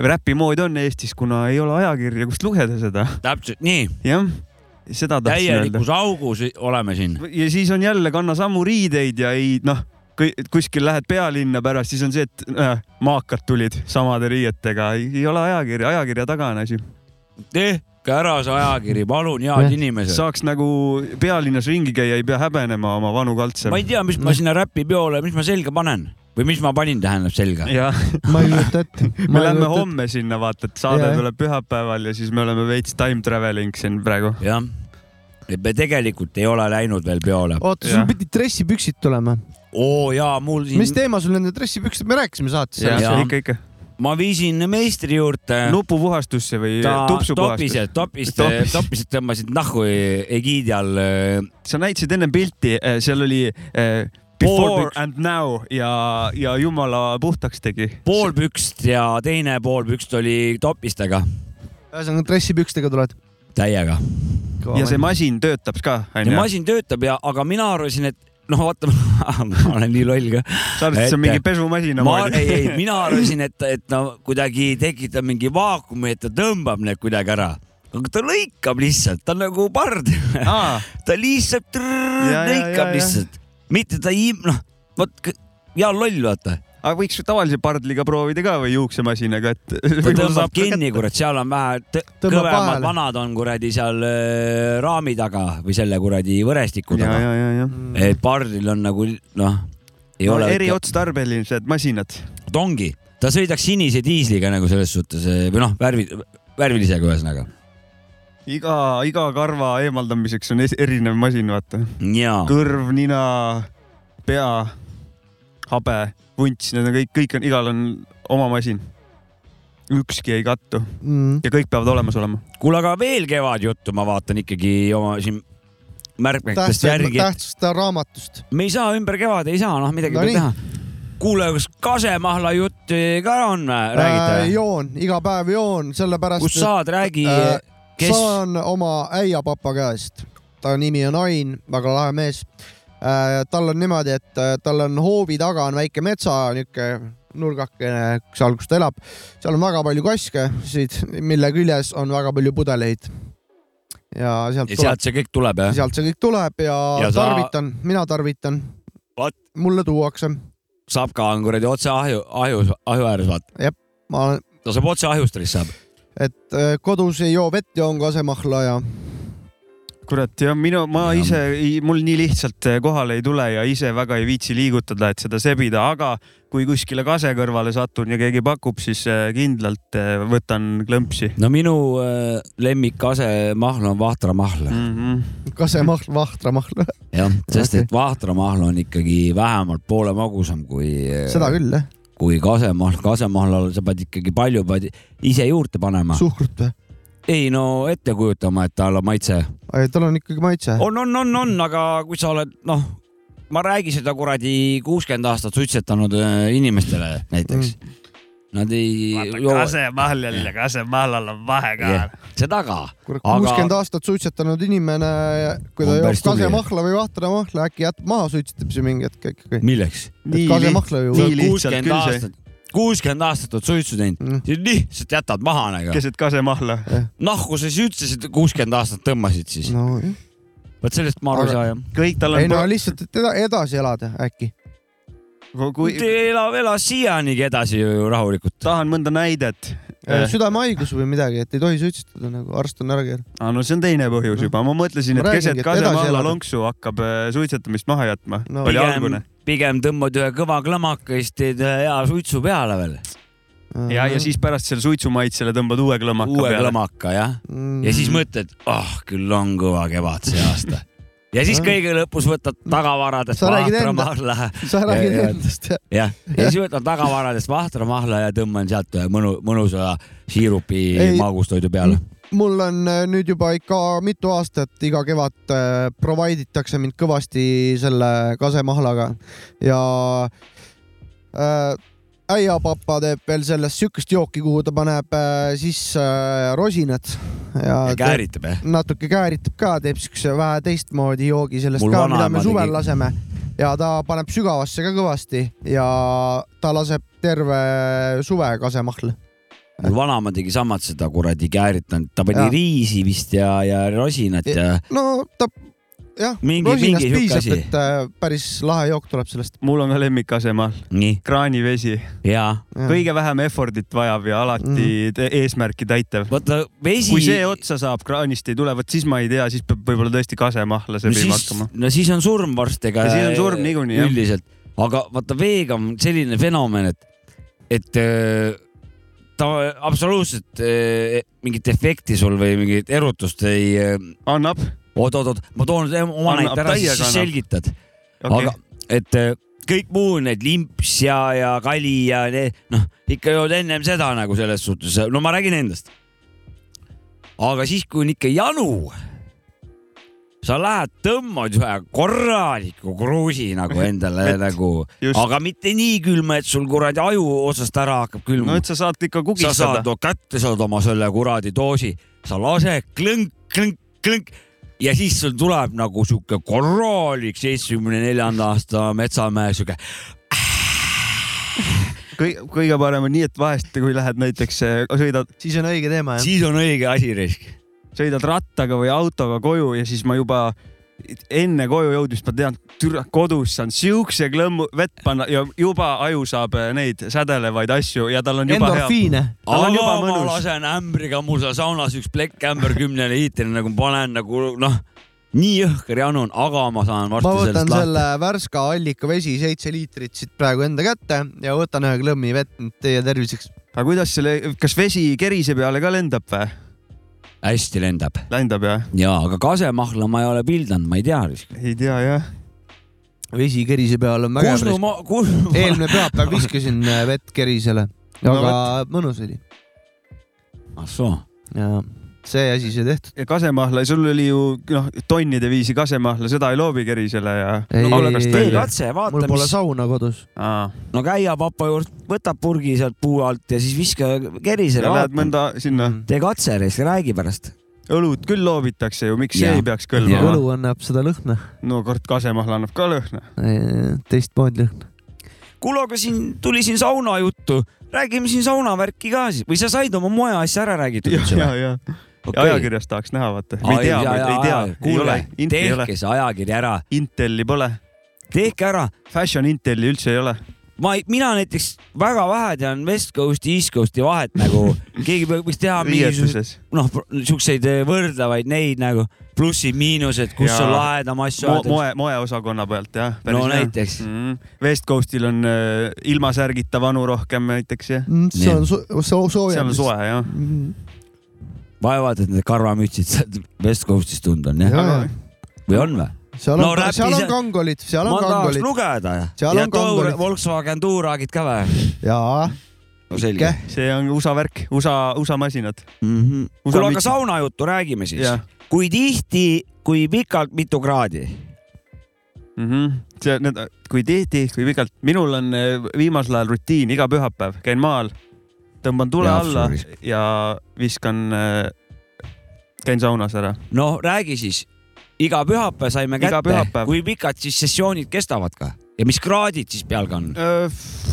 B: räpimood on Eestis , kuna ei ole ajakirja , kust lugeda seda .
C: täpselt nii ,
B: jah , seda tahtsin öelda .
C: täielikus augus oleme siin .
B: ja siis on jälle , kanna samu riideid ja ei noh , kui kuskil lähed pealinna pärast , siis on see , et äh, maakad tulid samade riietega , ei ole ajakirja , ajakirja taga on asi .
C: tehke ära see ajakiri , palun , head
A: Jah.
C: inimesed .
B: saaks nagu pealinnas ringi käia , ei pea häbenema oma vanu kaltse
C: ma . ei tea , mis ma
A: Mm.
C: sinna räpipeole , mis ma selga panen või mis ma panin , tähendab selga .
B: jah ,
A: ma ei kujuta ette .
B: me lähme . homme sinna , vaata , et saade
A: Jaa, jah.
B: tuleb pühapäeval ja siis me oleme veits time traveling siin praegu .
C: jah , et me tegelikult ei ole läinud veel peole .
A: oota , sul
B: Jah.
A: pidid dressipüksid tulema .
C: oo jaa , mul
A: mis
C: siin ,
A: teema sul nende dressipüksid , me rääkisime saates
C: Jaa.
A: sellest .
B: ikka , ikka .
C: ma viisin meistri juurde .
B: nupupuhastusse või
C: ta
B: tupsupuhastusse .
C: topised , topist ,
B: Topis.
C: topised tõmbasid nahku e-, egiidi all . e-
B: sa näitasid ennem pilti , seal oli eh,
C: Pool
B: before
C: üks-
B: and now ja , ja jumala puhtaks tegi .
C: pool pükst ja teine pool pükst oli topistega ,
A: ühesõnaga dressipükstega tuled .
C: täiega .
B: ja see masin töötab ka ,
C: ja
B: onju .
C: masin töötab ja , aga mina arvasin , et noh , vaata , [laughs] ma olen nii loll ka .
B: sa arvad , et see on
C: ette.
B: mingi pesumasina
C: ma , ei , ei ,
B: moodi ?
C: mina arvasin , et , et no kuidagi tekitab mingi vaakumi , et ta tõmbab need kuidagi ära . aga ta lõikab lihtsalt , ta on nagu pard .
B: aa ,
C: [laughs] ta lihtsalt trrrr,
B: Ja, ja, ja,
C: lõikab
B: ja.
C: lihtsalt . mitte ta ei , noh , vot , ja loll , vaata
B: aga võiks ju tavalise pardliga proovida ka või juuksemasinaga , et . [laughs]
C: ta tõmbab kinni , kurat , seal on vähe tõ-
A: Tõmbab
C: kõvemad
A: vahele.
C: vanad on kuradi seal äh, raami taga või selle kuradi võrestiku
B: ja ,
C: taga .
B: ja , ja , ja .
C: et pardil on nagu noh , ei
B: No,
C: ole .
B: eriotstarbelised masinad .
C: ta ongi , ta sõidaks sinise diisliga nagu selles suhtes eh, või noh , värvi , värvilisega ühesõnaga .
B: iga , iga karva eemaldamiseks on es- erinev masin , vaata .
C: jaa ,
B: kõrv , nina , pea , habe , vunts , need on kõik , kõik on , igal on oma masin . ükski ei kattu
A: mm. .
B: ja kõik peavad olemas olema .
C: kuule , aga veel kevadjuttu ma vaatan ikkagi oma siin märkmetest
A: tähtsust ,
C: järgi ,
A: tähtsust raamatust .
C: et me ei saa ümber kevade , ei saa , noh , midagi
A: No
C: no, peab
A: nii.
C: teha . kuule , kas kasemahla jutt eh, ka on , Äh,
A: Äh,
C: räägite või ?
A: joon , iga päev joon , sellepärast .
C: kus saad , räägi
A: Äh,
C: kes-
A: kes... saan oma äiapapa käest , ta nimi on Ain , väga lahe mees . tal on niimoodi , et äh, tal on hoovi taga on väike metsa , niisugune nurgakene , seal , kus ta elab . seal on väga palju kaskasid , mille küljes on väga palju pudeleid . ja sealt
C: ja
A: tuleb ,
C: sealt see kõik tuleb jah ?
A: sealt see kõik tuleb ja,
C: Ja
A: ja
C: sa-
A: tarvitan sa... , mina tarvitan
C: Vat.
A: mulle tuuakse ,
C: Sapka on kuradi otse ahju , ahjus , ahju ääres , vaata .
A: ma olen ,
C: ta saab otse ahjustrist saab .
A: et äh, kodus ei joo vett , joon kasemahla ja
B: kurat jah , minu , ma
C: Ja.
B: ja. ise , mul nii lihtsalt eh, kohale ei tule ja ise väga ei viitsi liigutada , et seda sebida , aga kui kuskile kase kõrvale satun ja keegi pakub , siis eh, kindlalt eh, võtan klõmpsi
C: no minu äh, lemmik asemahl on vahtramahl mm. ,
B: mm . -hmm.
A: kasemahl , vahtramahla ,
C: jah , sest
A: Mm. Okei.
C: et vahtramahl on ikkagi vähemalt poole magusam kui ,
A: seda küll jah ,
C: kui kasemahl . kasemahlal sa pead ikkagi palju pead ise juurde panema Su .
A: suhkrut või ?
C: ei no ette kujutama , et tal on maitse .
A: tal on ikkagi maitse .
C: on , on , on , on , aga kui sa oled , noh , ma räägi seda kuradi kuuskümmend aastat suitsetanud äh, inimestele näiteks mm. . Nad ei joo
B: kasemahl jälle , kasemahlal on
C: Jah.
B: vahekaal .
C: seda ka . Aga-
A: kuuskümmend aastat suitsetanud inimene , kui ta
C: On
A: joob
C: päris tubli.
A: kasemahla või vahtramahla , äkki jätab maha suitsetamise mingi hetk ikkagi .
C: milleks ?
A: kasemahla ju
B: nii . lihtsalt küll see.
C: aastat , kuuskümmend aastat oled suitsu teinud
A: Mm. Eh.
C: mm. , siis lihtsalt jätad maha nagu .
B: keset kasemahla .
C: nahku sa siis üldse seda kuuskümmend aastat tõmbasid siis no. ?
A: no
C: vot sellest ma aru ei
A: Aga-
C: saa jah .
B: kõik tal
A: ei
B: on
A: no , lihtsalt , et eda- edasi elada äkki .
B: kui
C: elab , elas siianigi edasi ju rahulikult .
B: tahan mõnda näidet .
A: Eh,
B: eh, aa ,
A: südamehaigus või midagi , et ei tohi suitsetada nagu arst on ära keelanud .
B: Ah, no see on teine põhjus juba , ma mõtlesin ,
A: Ma
B: et
A: räägingi,
B: keset
A: et edasi
B: kasemahla
A: elada.
B: lonksu hakkab eh, suitsetamist maha jätma
A: No.
B: no, . oli algune .
C: pigem tõmbad ühe kõva klamaka ja siis teed ühe hea suitsu peale veel .
B: ja , ja siis pärast selle suitsumaitsele tõmbad uue klõmmaka
C: uue
B: peale .
C: klamaka jah .
A: Mm.
C: ja siis . mõtled , ah oh, küll on kõva kevad see aasta . ja
A: [laughs]
C: siis
A: Mm.
C: kõige lõpus võtad tagavaradest
A: Sa räägid enda-
C: vahtramaalla
A: sa räägid
C: ja- ja-
A: endast jah ?
C: jah , ja siis võtan tagavaradest vahtramahla ja tõmban sealt ühe mõnu , mõnusa siirupi
A: Ei.
C: magustoidu peale .
A: mul on äh, nüüd juba ikka mitu aastat iga kevad äh, provide itakse mind kõvasti selle kasemahlaga ja äh, äiapapa teeb veel sellest siukest jooki , kuhu ta paneb äh, sisse äh, rosinad ja,
C: ja
A: ja
C: kääritab jah .
A: natuke kääritab ka , teeb siukse vähe teistmoodi joogi sellest
C: Mul
A: Mul ka , mida
C: vanaema
A: me
C: tegi.
A: suvel tegi. laseme ja ta paneb sügavasse ka kõvasti ja ta laseb terve suve kasemahla .
B: Mm.
C: mul vanaema tegi samad seda kuradi kääritanud , ta pani
A: Jaa.
C: ja. riisi vist ja , ja rosinat ja, ja.
A: no ta jah ,
C: Mingi- mingi
A: rosinast
C: sihuke
A: piisab ,
C: asi.
A: et äh, päris lahe jook tuleb sellest .
B: mul on ka lemmik kasemahl ,
C: nii
B: kraanivesi ,
C: ja
B: kõige vähem effort'it vajav ja alati te- eesmärki täitev .
C: vaata vesi .
B: kui see otsa saab , kraanist ei tule , vot siis ma ei tea , siis peab võib-olla tõesti kasemahla
C: no
B: sebima
C: siis
B: hakkama .,
C: no siis on surm varsti , ega .
B: Ja siis on surm niikuinii, jah.
C: üldiselt , aga vaata veega on selline fenomen , et , et öö, ta absoluutselt öö, mingit efekti sul või mingit erutust ei äh,
B: annab ,
C: oot-oot-oot , ma toon nüüd oma
B: Anna-
C: näite ära ,
B: täiega
C: siis sa
B: annab.
C: selgitad okay. ,
B: okei
C: aga . et eh, kõik muu need limps ja , ja kali ja need noh , ikka jood ennem seda nagu selles suhtes , no ma räägin endast . aga siis , kui on ikka janu , sa lähed tõmbad ühe korraliku kruusi nagu endale
B: [laughs] Vett.
C: nagu ,
B: Just.
C: aga mitte nii külma , et sul kuradi aju otsast ära hakkab külma
B: no et sa saad ikka
C: sa saad
B: kugistada .
C: no, kätte , saad oma selle kuradi doosi , sa lase klõnk , klõnk , klõnk ja siis sul tuleb nagu sihuke korralik seitsmekümne neljanda aasta metsamehe sihuke .
B: kõige parem on nii , et vahest , kui lähed näiteks eh, sõidad ,
A: siis on õige teema jah ?
C: siis on õige asi risk .
B: sõidad rattaga või autoga koju ja siis ma juba enne koju jõudmist ma tean , türa kodus saan siukse klõmmu vett panna ja juba aju saab eh, neid sädelevaid asju ja tal on juba hea .
A: endorfiine .
B: Tal on
C: aga
B: juba
C: ma
B: mõnus.
C: lasen ämbriga mul seal saunas üks plekk ämber kümnele liitrile nagu panen nagu noh , nii jõhker janu on , aga ma saan
A: ma
C: varsti
A: võtan
C: sellest lahti .
A: selle värska allikavesi , seitse liitrit siit praegu enda kätte ja võtan ühe klõmmi vett nüüd teie terviseks .
B: aga kuidas selle , kas vesi kerise peale ka lendab või ?
C: hästi lendab
B: Lendab jah ?
C: ja , aga kasemahla ma ei ole pildanud , ma ei tea risk .
B: ei tea jah .
A: vesi kerise peal on väga
C: Kusnu
A: hea .
C: ma , Kusnu ma ,
A: eelmine pühapäev viskasin äh, vett kerisele ,
B: No
A: aga mõnus oli
C: ah soo ,
A: ja see asi sai tehtud .
B: ja kasemahla , sul oli ju noh , tonnide viisi kasemahla , seda ei loobi kerisele ja .
A: Ei, ei,
C: tee
A: ei.
C: katse , vaata
A: mul pole
C: mis
A: sauna kodus .
C: Ah. no käia papa juurde , võta purgi sealt puu alt ja siis viska kerisele .
B: ja lähed mõnda sinna ,
C: tee katse reis , räägi pärast .
B: õlut küll loobitakse ju , miks
C: Jaa.
B: see ei peaks kõlbama
A: õlu ? annab seda lõhna ,
B: no kord kasemahla annab ka lõhna .
A: teistmoodi lõhna .
C: kuule , aga siin tuli siin sauna juttu , räägime siin saunavärki ka siis või sa said oma moeasja ära räägitud
B: ja ,
C: üldse
B: ja
C: või ?,
B: ja okay. . ajakirjas tahaks näha , vaata . me ei tea , me ei tea , ei ole ,
C: kuule ,
B: inti ei ole ,
C: tehke see ajakiri ära ,
B: Inteli pole .
C: tehke ära .
B: Fashion Inteli üldse ei ole .
C: ma , mina näiteks väga vähe tean West Coast'i , East Coast'i vahet nagu , keegi peab- võiks teha mingisuguseid ,
B: riietuses .
C: noh , siukseid võrdlevaid neid nagu plussid-miinused , kus
B: Jaa.
C: on lahedam asju
B: Mo . moe , moeosakonna pealt jah .
C: no näiteks ,
B: mm. . West Coastil on äh, ilma särgita vanu rohkem näiteks jah .
A: Mm, see on so- so- Mm.
B: seal
A: soojem
B: on . soe jah .
C: vaevalt , et need karvamütsid sealt West Coast'ist tunda on jah ,
A: jaa ,
C: või on või ?
A: seal
C: No
A: on ,
C: räpi
A: seal on
C: seal-
A: kangolid , seal
C: ma
A: on
C: tahaks
A: kangolid
C: lugeda ja
A: Seal on
C: tour
A: kangolid. ,
C: Volkswagen Turagid ka või ?
A: jaa ,
C: no selge .
B: see on USA värk , USA , USA masinad .
C: mhm. kuule , aga sauna juttu räägime siis .
B: jah
C: kui tihti , kui pikalt , mitu kraadi ?
B: mm . -hmm. see , need , kui tihti , kui pikalt , minul on äh, viimasel ajal rutiin iga pühapäev , käin maal , tõmban tule
C: Ja
B: alla
C: absurdi.
B: ja viskan , eh, käin saunas ära .
C: no räägi siis , iga pühapäev saime
B: Iga
C: kätte
B: pühapäev. ,
C: kui pikad siis sessioonid kestavad ka ja mis kraadid siis pealgi on ,
B: eh,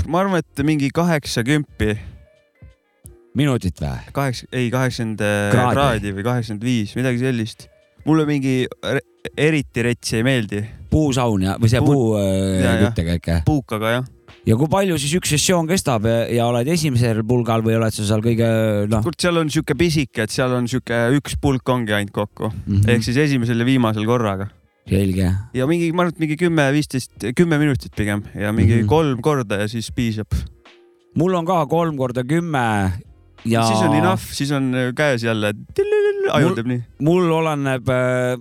B: ma arvan , et mingi kaheksakümpi ,
C: minutit või ? Äh,
B: kaheksa , ei kaheksakümmend eh,
C: Kraadi.
B: kraadi või kaheksakümmend viis , midagi sellist . mulle mingi re- eriti rets ei meeldi ,
C: puusaun ja , või see
B: Puu-
C: puu,
B: Jaa,
C: puu
B: jah.
C: küttega ikka .
B: puukaga jah ,
C: ja kui palju siis üks sessioon kestab ja, ja oled esimesel pulgal või oled sa seal kõige noh ,
B: kurat , seal on sihuke pisike , et seal on sihuke üks pulk ongi ainult kokku ,
C: Mhm.
B: ehk siis esimesel ja viimasel korraga .
C: selge .
B: ja mingi , ma arvan , et mingi kümme , viisteist , kümme minutit pigem ja mingi mm
C: Mhm.
B: -hmm. kolm korda ja siis piisab
C: mul on ka kolm korda kümme ja
B: ja... . siis on enough , siis on äh, käes jälle , aju teeb nii .
C: mul oleneb äh,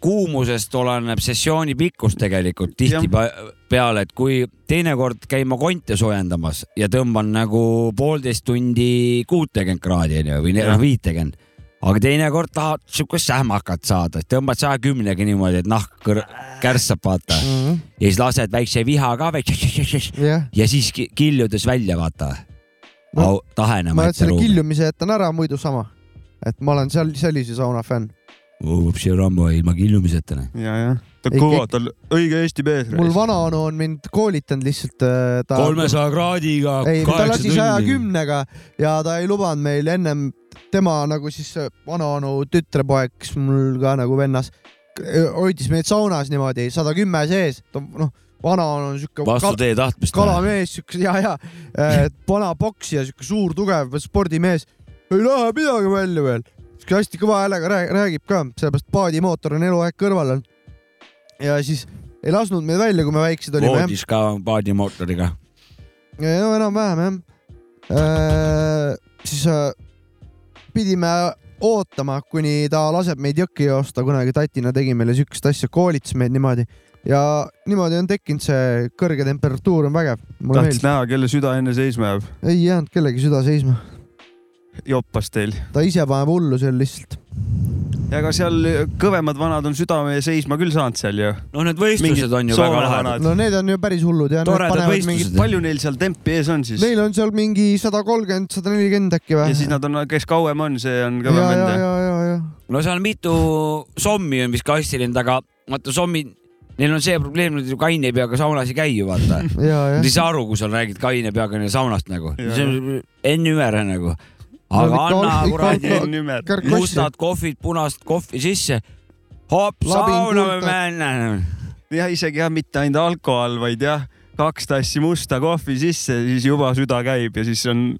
C: kuumusest oleneb sessiooni pikkus tegelikult tihtipeale , et kui teinekord käin ma konte soojendamas ja tõmban nagu poolteist tundi kuutekümmet kraadi onju või ne-
B: Jah.
C: viitekümmet , aga teinekord tahad siukest sähmakat saada , tõmbad saja kümnega niimoodi , et nahk kõr- kärssab , vaata . ja siis lased väikse viha ka väikse
A: Mhm. jah .
C: ja siis ki- killudes välja , vaata
A: Ma-
C: no, . tahenema
A: ma selle . killumise jätan ära , muidu sama . et ma olen seal sellise sauna fänn .
C: upsi rambo ilma killumiseta . noh.
B: ja , ja . ta
A: Ei,
B: on kõva , ta on õige Eesti mees .
A: mul vana onu on mind koolitanud lihtsalt äh, ta .
C: kolmesaja kraadiga .
A: ei , ta lasi saja . kümnega ja ta ei lubanud meil ennem tema nagu siis äh, vana onu tütrepoeg , kes mul ka nagu vennas , hoidis meid saunas niimoodi sada kümme sees , ta noh , vana onu on siuke
C: vastu
A: kal-
C: teie tahtmist .
A: kalamees , siuke ja , ja äh, vana poksija , siuke suur tugev spordimees , ei lähe midagi välja veel , siuke hästi kõva häälega rää- räägib ka , sellepärast paadimootor on eluaeg kõrval olnud . ja siis ei lasknud meid välja , kui me väiksed olime jah.
C: voodis ka paadimootoriga .
A: Ja no enam-vähem jah . siis äh, pidime ootama , kuni ta laseb meid jõkke joosta , kunagi tatina tegi meile siukest asja , koolitas meid niimoodi ja niimoodi on tekkinud see kõrge temperatuur on vägev , mulle
B: tahtsid
A: meeldib .
B: näha , kelle süda enne seisma jääb .
A: ei jäänud kellegi süda seisma ,
B: joppas teil .
A: ta ise paneb hullu seal lihtsalt .
B: ja ega seal kõvemad vanad on südame seisma küll saanud seal ju .
C: no need võistlused
B: Mingid
C: on ju
B: Soome
C: väga lahedad .
B: vanad.
A: no need on ju päris hullud ja nad
C: Toredad
A: panevad
C: võistlused.
A: mingi ,
B: palju neil seal tempi ees on siis ?
A: neil on seal mingi sada kolmkümmend , sada nelikümmend äkki
B: ja
A: või ?
B: siis nad on , kes kauem on , see on
A: ja ,
B: kõvem
A: ja ,
B: vend .
A: ja , ja , ja
C: no seal on mitu sommi on vist kastil end , aga vaata sommid , neil on see probleem , nad ju kaine peaga saunas ei käi ju
A: [laughs]
C: vaata .
A: ja , ja
C: Nad ei saa aru , kui sa räägid kaine peaga neil saunast nagu .
B: Jaa.
C: see on N-üvere nagu .
A: No
C: aga
A: ikka
C: anna
A: on- ikka on-
C: kuradi
B: nimed .
A: Kärkossi.
C: mustad kohvid , punast kohvi sisse . hopp ,
A: Labin
C: sauna me
A: kultad.
C: männe .
B: ja isegi jah , mitte ainult alkohol , vaid jah , kaks tassi musta kohvi sisse , siis juba süda käib ja siis on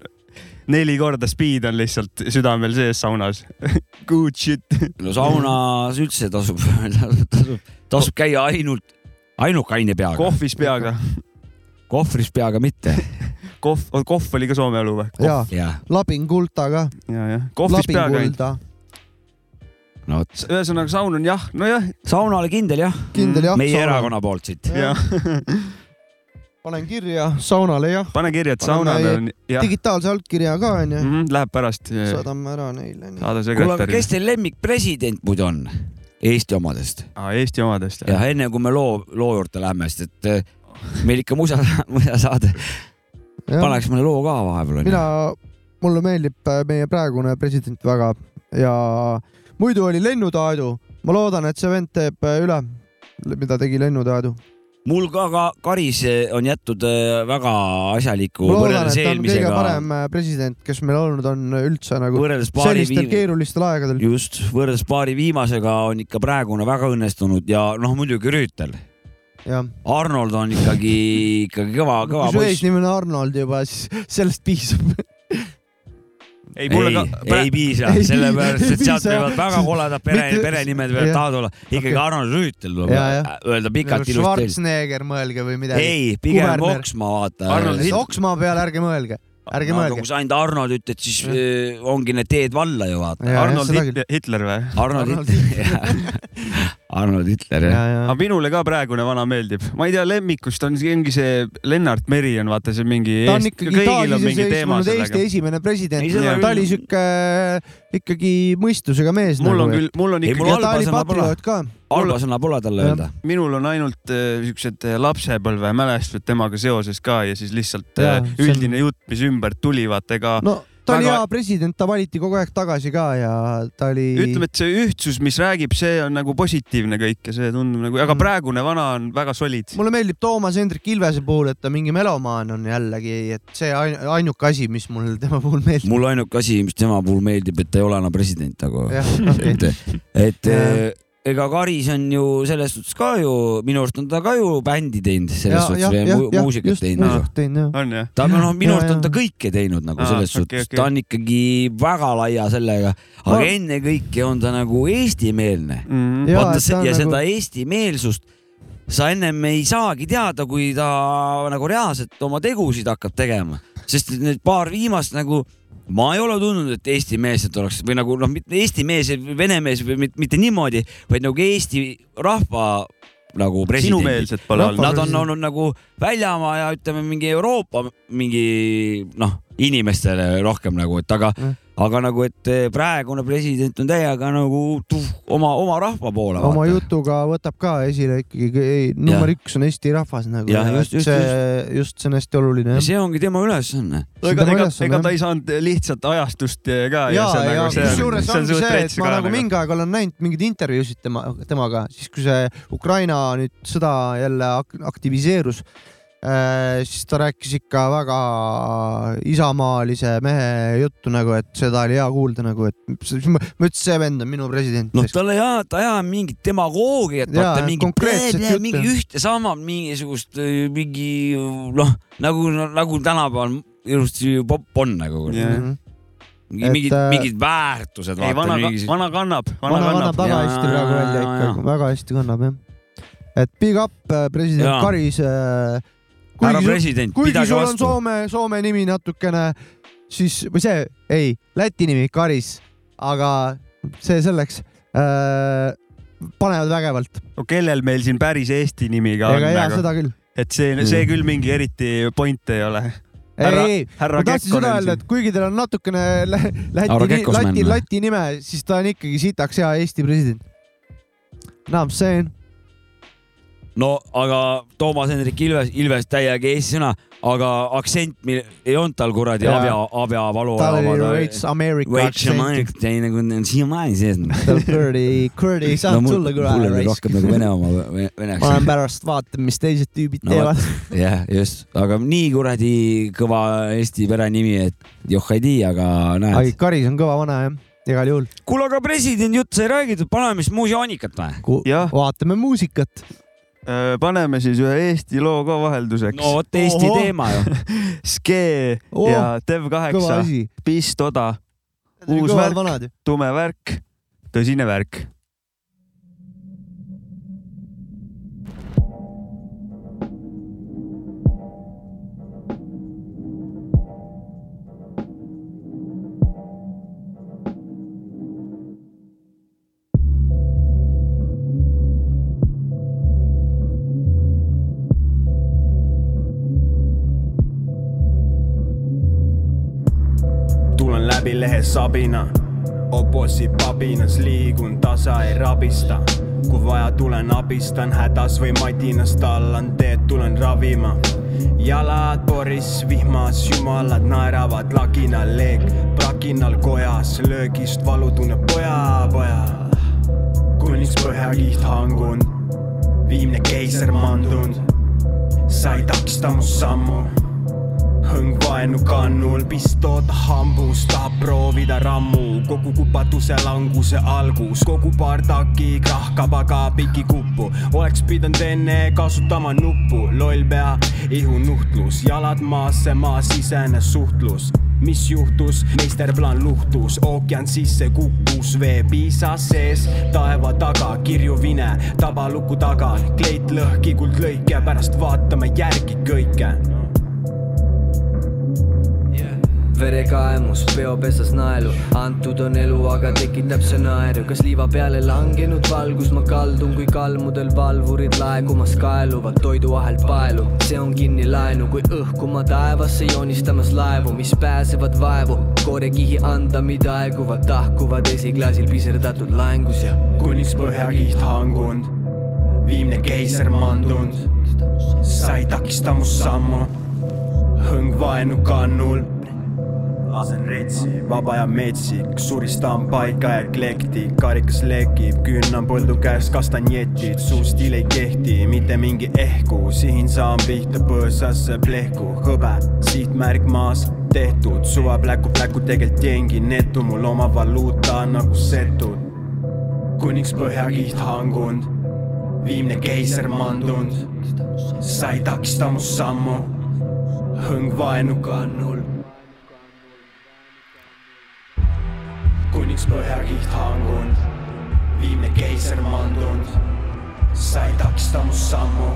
B: neli korda speed on lihtsalt südamel sees saunas . [laughs] Good shit .
C: no saunas üldse tasub , [laughs] tasub , tasub käia ainult , ainult kaine peaga ,
B: kohvis peaga .
C: kohvris peaga mitte .
B: kohv , kohv oli ka Soome elu või ?
A: ja
C: jah ,
A: labingulta ka ,
B: ja , jah . kohvis peaga ainult .
A: labingulda ,
C: no vot ,
B: ühesõnaga saun on jah , nojah ,
C: saunale kindel jah ,
A: kindel jah .
C: meie erakonna poolt siit .
A: Jah.
B: jah .
A: [laughs] panen kirja saunale jah ,
B: pane kirja , et
A: Pane
B: saunal on jah , Mhm.
A: digitaalse allkirja ka onju ,
B: läheb pärast .
A: saadame ära neile .
C: kuule ,
B: saada
C: aga
B: sekretäri
C: kes . teil lemmikpresident muidu on Eesti omadest ?
B: Eesti omadest .
C: jah , enne kui me loo , loo juurde lähme , sest et eh, meil ikka musa , [laughs] musasaade , paneks mõne loo ka vahepeal onju
A: mina ., mulle meeldib äh, meie praegune president väga ja muidu oli Lennu Taadu , ma loodan , et see vend teeb äh, üle , mida tegi Lennu Taadu .
C: mul ka , ka Karis eh, on jätnud eh, väga asjaliku
A: ma loodan , et
C: võrreldes
A: ta on kõige
C: eelmisega ,
A: parem äh, president , kes meil olnud on üldse nagu
C: võrreldes paari
A: sellistel keerulistel aegadel .
C: just , võrreldes paari viimasega on ikka praegune väga õnnestunud ja noh , muidugi Rüütel .
A: jah .
C: Arnold on ikkagi , ikkagi kõva , kõva
A: kui su
C: poiss .
A: eesnimi on Arnold juba , siis sellest piisab . [laughs]
B: ei , mulle
C: ei
B: ka ,,
C: ei piisa
A: Ei ,
C: sellepärast
A: piisa.
C: et sealt võivad väga koledad pere
A: Mitte- ,
C: perenimed veel
A: jah.
C: taha tulla . ikkagi
A: Okei.
C: Arnold Rüütel tuleb
A: Jaa, jah.
C: öelda pikalt ilusti .
A: Schwarzenegger , mõelge või midagi .
C: ei , pigem
A: Kuberner.
C: Oksmaa , vaata .
B: Arnold Sild-
A: Oksmaa peale ärge mõelge , ärge
C: kui
A: mõelge .
C: sa ainult Arnold ütled , siis äh, ongi need teed valla ju vaata .
B: Arnold Hitler, Hitler või ?
C: Arnold
A: Arnold
C: Hitler , Arnold Hitler jah .
A: jah
B: aga . minule ka praegune vana meeldib , ma ei tea , lemmikust on , ongi see Lennart Meri on vaata see mingi .
A: ta on ikkagi taasiseseisvunud Eesti esimene
C: Ei,
A: president
C: seda
A: ja
C: küll.
A: ta oli sihuke äh, ikkagi mõistusega mees .
B: mul on küll , mul on
C: Ei,
B: ikkagi
C: mul
A: ja ta
C: halba
A: oli
C: sõna pole.
A: patrioot ka .
C: halba sõna pole talle
A: Jah.
C: öelda .
B: minul on ainult äh, siuksed äh, lapsepõlve mälestused temaga seoses ka ja siis lihtsalt
A: Jaa,
B: äh,
A: see on-
B: üldine jutt , mis ümbert tuli , vaata ega no,
A: no ta oli
B: Väga-
A: hea president , ta valiti kogu aeg tagasi ka ja ta oli .
B: ütleme , et see ühtsus , mis räägib , see on nagu positiivne kõik ja see tundub nagu , aga
A: Mm.
B: praegune vana on väga solid .
A: mulle meeldib Toomas Hendrik Ilvese puhul , et ta mingi melomaan on jällegi , et see ain- ainuke asi , mis mul tema puhul meeldib .
C: [laughs] mul ainuke asi , mis tema puhul meeldib , et ta ei ole enam president nagu . [laughs]
A: jah , okei .
C: et , et eh,
A: Jah.
C: ega Karis on ju selles suhtes ka ju , minu arust on ta ka ju bändi teinud , selles suhtes ja, mu muusikat teinud .
A: muusikat teinud jah .
B: on jah ?
C: ta on noh , minu
A: Jah,
C: arust on
A: jah.
C: ta kõike teinud nagu
B: Aa,
C: selles
B: okei,
C: suhtes ,
B: okei.
C: ta on ikkagi väga laia sellega , aga
A: Ma-
C: ennekõike on ta nagu eestimeelne .
B: Mm.
A: Jaa,
C: vaata
A: et ta
C: see
A: on
C: ja
A: nagu-
C: seda eestimeelsust sa ennem ei saagi teada , kui ta nagu reaalselt oma tegusid hakkab tegema , sest et need paar viimast nagu ma ei ole tundnud , et eesti meeselt oleks või nagu noh , mitte eesti mees , vene mees või mit- mitte niimoodi , vaid nagu Eesti rahva nagu president .
B: sinumeelset pole olnud .
A: Rahva-
C: Nad on olnud nagu väljamaa ja ütleme mingi Euroopa mingi noh , inimestele rohkem nagu , et aga
A: Mm. ,
C: aga nagu , et praegune president on täiega nagu tuh, oma , oma rahva poole .
A: oma jutuga võtab ka esile ikkagi , ei , number üks on Eesti rahvas nagu .
C: Jah, just- just-
A: see , just see on hästi oluline
C: ja
A: jah .
C: see ongi tema ülesanne .
A: See
B: ega ,
A: tema
B: ega ,
A: ülesanne,
B: ega
A: jah.
B: ta ei saanud lihtsalt ajastust ka ja, ja
A: ja ,
B: see on
A: ja
B: nagu see on ,
A: kusjuures
B: see on
A: ongi
B: suht
A: see ,
B: rets
A: et ma
B: ka
A: nagu
B: nagu .
A: mingi aeg olen näinud mingeid intervjuusid tema , temaga , siis kui see Ukraina nüüd sõda jälle ak- aktiviseerus , siis ta rääkis ikka väga isamaalise mehe juttu nagu , et seda oli hea kuulda nagu , et siis ma ma ütlesin , see vend on minu president .
C: noh , tal ei aja , ta ei aja mingit demagoogiat ,
A: Jaa,
C: vaata mingi ,
A: konkreetset juttu.
C: mingi üht ja sama mingisugust , mingi noh , nagu , nagu tänapäeval ilusti ju popp on nagu
B: Jah.
C: yeah. .
A: Et,
C: mingid
A: äh, ,
C: mingid väärtused .
B: ei , vana , vana kannab , vana
A: vana
B: kannab .
A: kannab
C: Jaa,
A: väga hästi
C: jaa, jaa,
A: praegu välja
C: jaa,
A: ikka , väga hästi kannab jah . et big up äh, president
C: Jaa.
A: Karis .
C: härra president ,
A: kuigi
C: pidage
A: sul on
C: vastu .
A: Soome , Soome nimi natukene , siis või see , ei , Läti nimi Karis , aga see selleks äh, . panevad vägevalt ,
B: no kellel meil siin päris Eesti nimiga on
A: ega jaa ,
B: nagu ,
A: seda küll .
B: et see , see küll mingi eriti point ei ole .
A: ei
B: Härra- ,
A: ei ,
B: härra
A: ma tahtsin seda
B: Kekkonen
A: öelda ,
B: siin
A: et . kuigi tal on natukene lä-
C: Härra
A: Läti ,
C: Kekkos
A: Läti ,
C: männa.
A: Läti nime , siis ta on ikkagi sitaks hea Eesti president . no see on ,
C: no aga Toomas Hendrik Ilves , Ilves täiega eesti sõna , aga aktsent , mil ei olnud tal kuradi
A: Jaa.
C: abja , abjavalu .
A: tal oli veits Ameerika
C: Wait , see
A: aktsent
C: maik , teine kund on siiamaani sees .
A: tal nagu kuradi , kuradi ei saanud tulla
C: mul oli
A: kuradi .
C: rohkem nagu
A: [laughs]
C: vene oma ve- veneks
A: ma . olen pärast vaatan , mis teised tüübid
C: No
A: teevad .
C: jah , just , aga nii kuradi kõva Eesti perenimi , et joh ei tea , aga
A: ai
C: näed .,
A: Karis on kõva vana jah , igal juhul .
C: kuule , aga presidendi jutt sai räägitud , paneme siis muusioonikat või ?
B: Jah. Äh,
A: vaatame muusikat .
B: paneme siis ühe Eesti loo ka vahelduseks
C: no . vot Eesti
A: Ohoh.
C: teema
B: [laughs]
C: ju .
B: Skee
A: Oo,
B: ja
A: Oh, kõva
B: Dev8 ,
A: asi .
B: Pistoda , Uus värk.
A: vanad ju .
B: tume värk , tõsine värk .
E: tulen läbi lehe sabina , oposi pabinas liigun , tasa ei rabista . kui vaja , tulen abistan hädas või madinas , tallan teed , tulen ravima . jalad poris vihmas , jumalad naeravad laginal , leeg prakinal kojas , löögist valu tunneb poja , poja . kuniks põhjakiht hangun , viimne keiser mandunud , sa ei takista mu sammu hõng vaenu kannul , pistood hambus , tahab proovida rammu , kogu kupatuse languse algus , kogu pardaki krahkab aga piki kuppu , oleks pidanud enne kasutama nuppu , loll pea , ihunuhtlus , jalad maasse , maasisene suhtlus mis juhtus , meisterplaan luhtus , ookean sisse kukkus , vee piisas sees , taeva taga kirju vine , tabaluku taga kleit lõhki , kuldlõike , pärast vaatame järgi kõike
F: verekaemus , peopesas naelu , antud on elu , aga tekitab see naeru , kas liiva peale langenud valgus ma kaldun , kui kalmudel valvurid laekumas kaeluvad toiduahel paelu , see on kinni laenu , kui õhku ma taevasse joonistamas laevu , mis pääsevad vaevu , koorekihi anda , mida aeguvad , tahkuvad esiklaasil piserdatud laengus ja
E: kunis põhjakiht hangunud , viimne keiser maandunud , sai takista mu sammu , hõng vaenu kannul . lasen retsi , vaba ja metsik , suristan paika ja eklektik , karikas lekib , künnan põldu käest kastanjetid , su stiil ei kehti , mitte mingi ehku , sihin saan pihta põõsasse plehku , hõbe , sihtmärk maas tehtud , suva pläku , pläku tegelikult jengi netu , mul oma valuuta nagu setud kuniks põhjakiht hangunud , viimne keiser maandunud , sai takista mu sammu , hõng vaenu kannul . kuniks põhjakiht hangunud , viimne keiser maandunud , sai takista mu sammu ,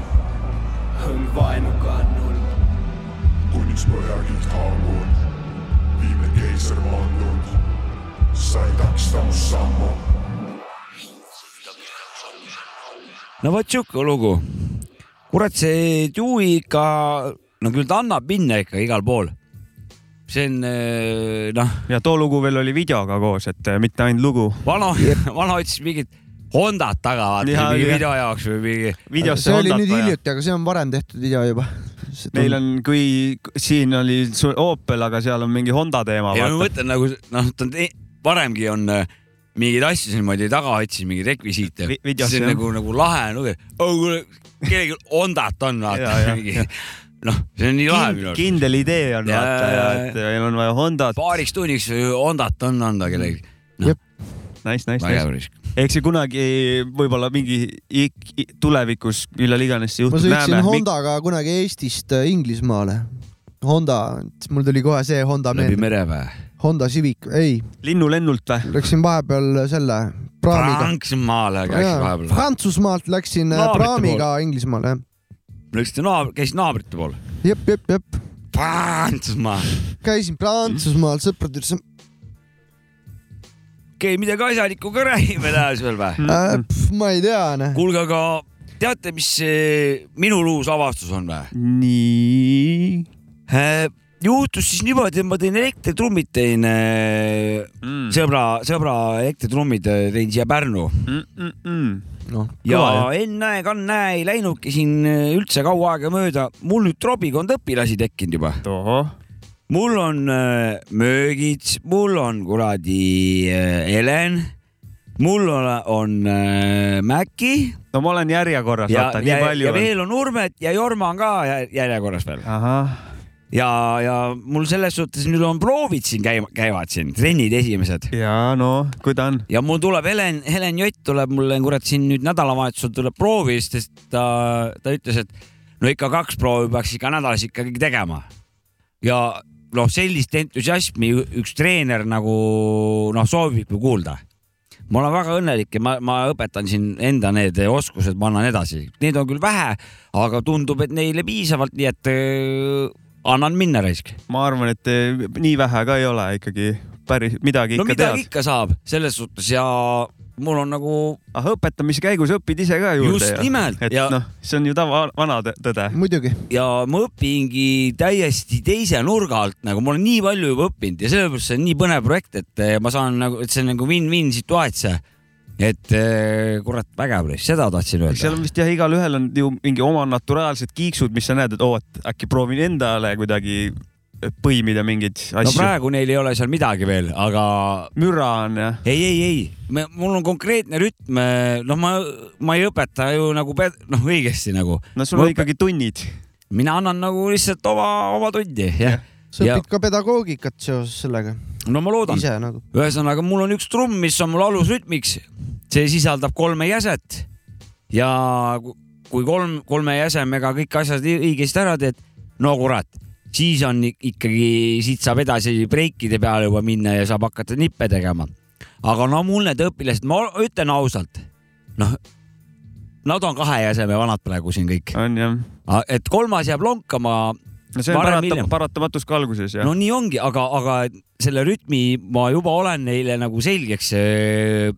E: hõng vaenu kannul .
G: kuniks põhjakiht haagunud , viime keiser vandunud , sai takstamus sammu .
C: no vot sihuke lugu . kurat , see Dewey ikka , no küll ta annab minna ikka igal pool . see on eh, noh ,
B: ja too lugu veel oli videoga koos , et eh, mitte ainult lugu .
C: vana , vana otsis mingit Hondat taga , vaata
B: Jaa,
C: mingi
B: jah.
C: video jaoks või mingi .
B: videosse
A: see oli
B: Hondat
A: nüüd
B: vaja .
A: hiljuti , aga see on varem tehtud video juba .
B: Neil on , kui siin oli su- Opel , aga seal on mingi Honda teema .
C: ja ma mõtlen nagu noh , ta on te- varemgi on eh, mingeid asju siin niimoodi taga otsinud , mingeid rekvisiite
B: Vi- . videosse,
C: see on
B: jah.
C: nagu , nagu lahe on lugeda . oh kuule , kellelgi Hondat on , vaata
B: Jaa, jah,
C: mingi . noh , see on nii lahe minu arust .
B: kindel idee on
C: Jaa,
B: vaata ja
C: jaa,
B: et meil on vaja Hondat .
C: paariks tunniks Hondat on anda Noh, kellelegi .
B: Nice , nice ,
C: vägev
B: nice .
C: risk .
B: eks see kunagi võib-olla mingi ik- i- tulevikus , millal iganes see
A: ma
B: juhtub ,
A: sõitsin
B: näeme .
A: Hondaga kunagi Eestist äh, Inglismaale . Honda , mul tuli kohe see Honda
C: läbi
A: meelde ,
C: mereväe .
A: Honda Civic , ei ,
B: linnulennult või ?
A: läksin vahepeal selle praamiga .
C: Prantsusmaale käis
A: Jaa,
C: vahepeal .
A: Prantsusmaalt läksin äh,
C: Naabrite
A: praamiga Inglismaale .
C: Läksite naab- , käis naabrite pool .
A: jep , jep , jep ,
C: Prantsusmaa .
A: käisin Prantsusmaal , sõprad ütlesid
C: okei , midagi asjalikuga räägime täna seal või ?
A: äh, , ma ei tea , noh .
C: kuulge , aga teate , mis see minul uus avastus on või ?
B: nii .
C: juhtus siis niimoodi , et ma teen elektritrummid , teen äh,
B: Mm.
C: sõbra , sõbra elektritrummid äh, teen siia Pärnu
B: Mm,
A: noh ,
C: ja ennäe-kannäe ei läinudki siin äh, üldse kaua aega mööda . mul nüüd trobikond õpilasi tekkinud juba .
B: tohoh .
C: mul on äh, Möögits , mul on kuradi äh, Helen , mul on, on äh, Mäki
B: no ma olen järjekorras ,
C: ja ,
B: vaata nii
C: ja, ja
B: palju on .
C: veel on Urmet ja Jorma on ka jä- järjekorras veel .
B: ahah ,
C: ja , ja mul selles suhtes nüüd on proovid siin käima , käivad siin , trennid esimesed .
B: ja no , kui ta on .
C: ja mul tuleb Helen , Helen Jott tuleb mulle kurat siin nüüd nädalavahetusel tuleb proovi , sest ta , ta ütles , et no ikka kaks proovi peaks ikka nädalas ikkagi tegema . ja noh , sellist entusiasmi ü- üks treener nagu noh , soovib ju kuulda . ma olen väga õnnelik ja ma , ma õpetan siin enda need oskused , ma annan edasi , neid on küll vähe , aga tundub , et neile piisavalt , nii et öö, annan minna raisk .
B: ma arvan , et eh, nii vähe ka ei ole ikkagi päris midagi
C: no
B: ikka
C: midagi
B: tead .
C: ikka saab selles suhtes ja mul on nagu
B: ah , õpetamise käigus õpid ise ka juurde .
C: Just nimelt,
B: et
C: ja-
B: noh , see on ju tava , vana tõ- tõde .
A: muidugi ,
C: ja ma õpingi täiesti teise nurga alt , nagu ma olen nii palju juba õppinud ja sellepärast see on nii põnev projekt , et eh, ma saan nagu , et see on nagu win-win situaatsio . et eh, kurat , vägev , seda tahtsin
B: eks seal
C: öelda
B: on . vist jah , igalühel on ju mingi oma naturaalsed kiiksud , mis sa näed , et oo , et äkki proovin endale kuidagi eh, põimida mingeid
C: no
B: asju no, .
C: praegu neil ei ole seal midagi veel , aga
B: müra on jah .
C: ei , ei , ei , mul on konkreetne rütm , eh, noh , ma , ma ei õpeta ju nagu pe- , noh , õigesti nagu .
B: no sul
C: Ma
B: on
C: õpe-
B: ikkagi tunnid .
C: mina annan nagu lihtsalt oma , oma tundi , jah .
A: sa
C: Ja-
A: õpid ka pedagoogikat seoses sellega
C: no ma loodan .
A: ise nagu .
C: ühesõnaga , mul on üks trumm , mis on mul alusrütmiks , see sisaldab kolme jäset ja ku- kui kolm , kolme jäsemega kõik asjad i- õigesti ära teed , no kurat , siis on i- ikkagi , siit saab edasi breikide peale juba minna ja saab hakata nippe tegema . aga no mul need õpilased , ma ütlen ausalt , noh , nad on kahe jäseme vanad praegu siin kõik ,
B: on jah .
C: et kolmas jääb lonkama
B: no see on
C: Varem,
B: parata,
C: hiljem.
B: paratamatus ka alguses jah
C: no
B: no, .
C: nii ongi , aga , aga selle rütmi ma juba olen neile nagu selgeks öö,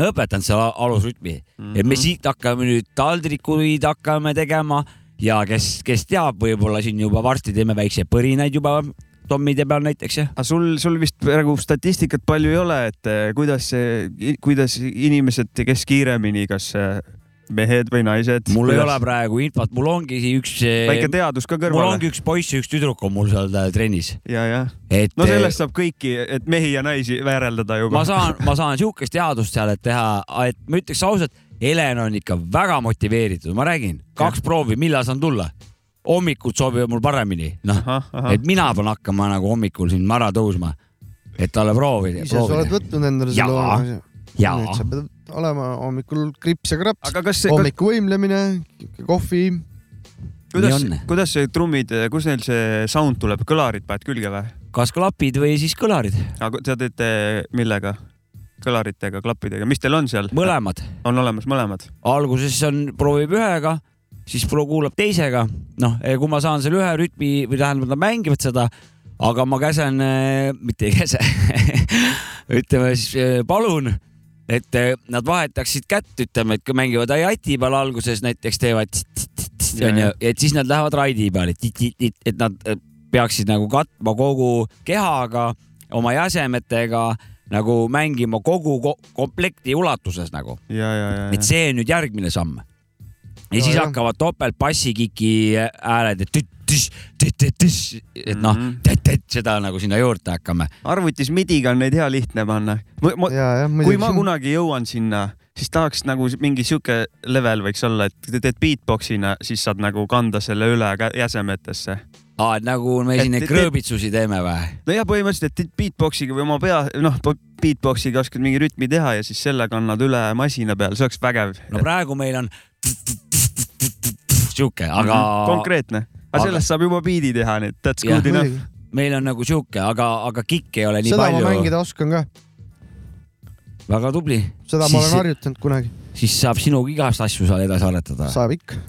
C: õpetanud , selle a- alusrütmi mm . -hmm. et
B: Mhm.
C: me siit hakkame nüüd taldrikuid hakkame tegema ja kes , kes teab , võib-olla siin juba varsti teeme väikseid põrinaid juba tommide peal näiteks jah .
B: aga sul , sul vist praegu statistikat palju ei ole , et eh, kuidas see , kuidas inimesed , kes kiiremini , kas eh, mehed või naised ?
C: mul ei ole praegu infot , mul ongi siin üks ,
B: väike teadus ka
C: mul
B: kõrvale .
C: ongi üks poiss ja üks tüdruk on mul seal äh, trennis ,
B: ja , ja . [laughs]
C: et eh,
B: no sellest saab kõiki , et mehi ja naisi vääreldada
C: ma
B: juba .
C: saan , ma saan sihukest teadust seal , et teha , et ma ütleks ausalt , Helen on ikka väga motiveeritud , ma räägin , kaks proovi , millal saan tulla . hommikud sobivad mul paremini , noh , et mina pean hakkama nagu hommikul siin mara tõusma , et talle proovida ,
A: ise sa oled
C: proovida .
A: võtnud endale selle
C: Jaa.
A: hoone . nüüd
C: jaa
A: sa , pead olema hommikul krips ja kraps ,
B: aga kas see ,
A: hommikuvõimlemine , kohvi .
B: [laughs] kuidas
C: nii on. ,
B: kuidas see trummid , kus neil see sound tuleb , kõlarid paned külge või ?
C: kas klapid või siis kõlarid ,
B: aga te teete eh, millega ? kõlaritega , klappidega , mis teil on seal ?
C: mõlemad .
B: on olemas mõlemad ?
C: alguses on , proovib ühega , siis pro- kuulab teisega , noh , kui ma saan selle ühe rütmi või tähendab , nad mängivad seda , aga ma käsen , mitte ei käse , [laughs] ütleme siis eh, palun , et eh, nad vahetaksid kätt , ütleme , et kui mängivad ajati peal alguses näiteks teevad tss-tss-tss,
B: Ja,
C: onju
B: ja. ,
C: et siis nad lähevad raidi peale , et nad eh, peaksid nagu katma kogu kehaga , oma jäsemetega nagu mängima kogu ko komplekti ulatuses nagu
B: ja , ja , ja ,
C: et
B: ja .
C: see on nüüd järgmine samm . ja
A: No
C: siis
A: jah.
C: hakkavad topeltpassikiki hääled , et tüt-tüs , tüt-tüs , et noh , tätt-tätt , seda nagu sinna juurde hakkame .
B: arvutis midiga on neid hea lihtne panna .
A: ja , jah ,
B: kui ma . kunagi jõuan sinna , siis tahaks nagu mingi sihuke level võiks olla , et te teed beatbox'ina , siis saad nagu kanda selle üle kä- jäsemetesse .
C: aa , et nagu me siin
B: Et-
C: neid
B: et-
C: krõõbitsusi teeme või ?
B: nojah , põhimõtteliselt , et teed beatbox'iga või oma pea , noh , beatbox'iga oskad mingi rütmi teha ja siis selle kannad üle masina peal , see oleks vägev .
C: no praegu meil on sihuke , aga
B: Mhm. konkreetne , aga
C: aga-
B: sellest saab juba beat'i teha , nii et that's
C: Jah.
B: good enough .
A: seda
C: meil on nagu sihuke , aga , aga kikk ei ole nii
A: ma
C: palju .
A: mängida oskan ka ,
C: väga tubli ,
A: seda ma
C: Siis-
A: olen harjutanud kunagi ,
C: siis saab sinuga igast asju seal edasi aretada .
A: saab ikka .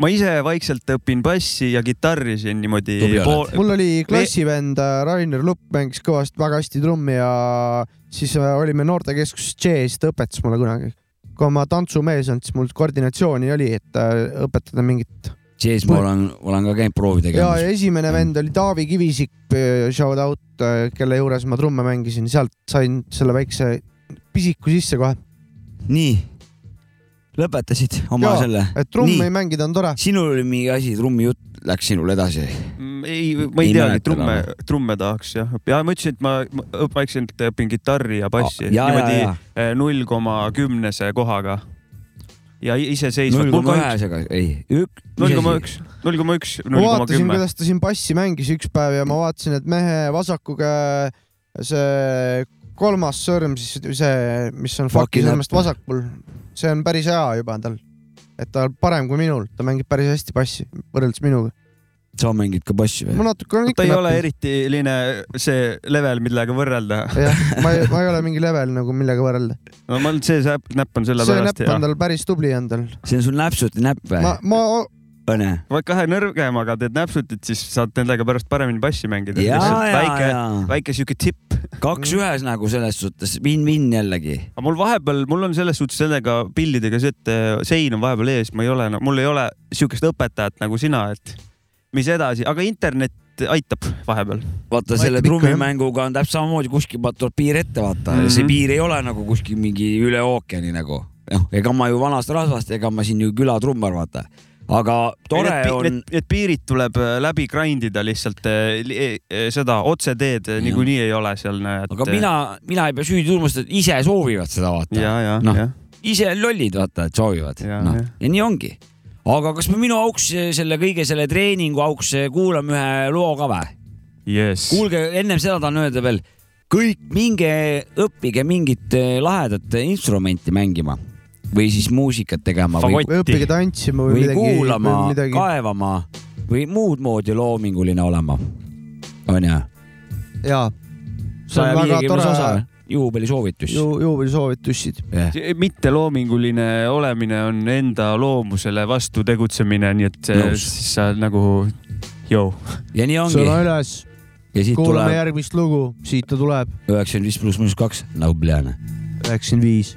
B: ma ise vaikselt õpin bassi ja kitarri siin niimoodi
C: Tubli oled.
B: pool ,
A: mul oli klassivend äh, Rainer Lupp mängis kõvasti , väga hästi trummi ja siis äh, olime noortekeskuses džäss , ta õpetas mulle kunagi . kui ma tantsumees olnud , siis mul koordinatsiooni oli , et äh, õpetada mingit .
C: siis ma olen , olen ka käinud proovi
A: ja ,
C: tegemas
A: ja . esimene vend oli Taavi Kivisik , shout out , kelle juures ma trumme mängisin , sealt sain selle väikse pisiku sisse kohe .
C: nii , lõpetasid oma
A: Jaa.
C: selle
A: et trummi
C: Nii.
A: mängida on tore .
C: sinul oli mingi asi , trummijutt läks sinul edasi .
B: Mm, ei , ma ei
C: Ei
B: teagi ,
C: mäleta
B: trumme
C: enam. ,
B: trumme tahaks jah , ja ma ütlesin , et ma ma õp- vaikselt õpin kitarri ja bassi
C: ja , ja , ja
B: niimoodi eh, null koma kümnese kohaga . ja i- iseseisvalt
C: null .
B: null
C: koma ühesega , ei , üks .
B: koma . üks , null koma üks ,
A: ma
B: null koma
A: vaatasin ,
B: kümme .
A: kuidas ta siin bassi mängis üks päev ja ma vaatasin , et mehe vasaku käe see kolmas sõrm , siis see , mis on
C: Fucking
A: fuck'i sõrmest
C: näpp.
A: vasakul , see on päris hea juba tal . et ta on parem kui minul , ta mängib päris hästi bassi võrreldes minuga .
C: sa mängid ka bassi või ?
A: ma natuke olen ikka .
B: ta ei ole . eritiline see level , millega võrrelda .
C: [laughs]
A: jah , ma ei , ma ei ole mingi level nagu millega võrrelda .
B: no ma olen , see säpp- näpp on selle
A: see
B: pärast
A: näpp
B: hea
A: on . tal päris tubli on tal .
C: see on sul näpsuti näpp või
A: ma ?, ma ,
C: onju .
B: vaid kahe nõrgemaga teed näpsutit , siis saad nendega pärast paremini bassi mängida .
C: ja , ja ,
B: väike ,
C: ja
B: väike sihuke tipp .
C: kaks ühes nagu selles suhtes win-win jällegi .
B: aga mul vahepeal , mul on selles suhtes sellega pillidega see , et äh, sein on vahepeal ees , ma ei ole , mul ei ole siukest õpetajat nagu sina , et mis edasi , aga internet aitab vahepeal .
C: vaata
A: Aitab
C: selle
A: ikka, jah.
C: trummimänguga on täpselt samamoodi , kuskil pa- tuleb piir ette vaata mm ,
B: Mhm.
C: -hmm. see piir ei ole nagu kuskil mingi üle ookeani nagu . noh , ega ma ju vanast rasvast , ega ma siin ju külatrummar vaata , aga tore
B: need, pi-
C: on
B: Need, need piirid tuleb äh, läbi grind ida lihtsalt äh, li- eh, seda otseteed äh,
C: Jah.
B: niikuinii ei ole seal , näed . äh,
C: aga mina , mina ei pea süüdi tunnustama , et ise soovivad seda vaata .
B: ja , ja ,
C: Noh.
B: jah ,
C: ise lollid , vaata , et soovivad .
B: Jaa,
C: No.
B: jah.
C: ja nii ongi . aga kas me minu auks eh, selle kõige selle treeningu auks eh, kuulame ühe loo ka või ?
B: jess .
C: kuulge , ennem seda tahan öelda veel , kõik minge õppige mingit eh, lahedat instrumenti mängima või siis muusikat tegema või,
B: Fagotti.
A: õppige tantsima või,
C: või
A: midagi .
C: kuulama ,
A: midagi... .
C: kaevama või muud moodi loominguline olema . onju ,
A: jaa , see
C: saja
A: on väga
C: viiekümnes
A: tore
C: osa juubelisoovitus
A: ju, . juubelisoovitussid .
C: jah ,
B: mitteloominguline olemine on enda loomusele vastu tegutsemine , nii et eh,
C: Nõus.
B: siis sa nagu , joo .
C: ja nii ongi
A: sõna üles ,
C: ja siit
A: kuulame tuleb...
C: tuleb
A: järgmist lugu , siit ta tuleb ,
C: üheksakümmend viis pluss miinus kaks , no blane .
A: üheksakümmend viis .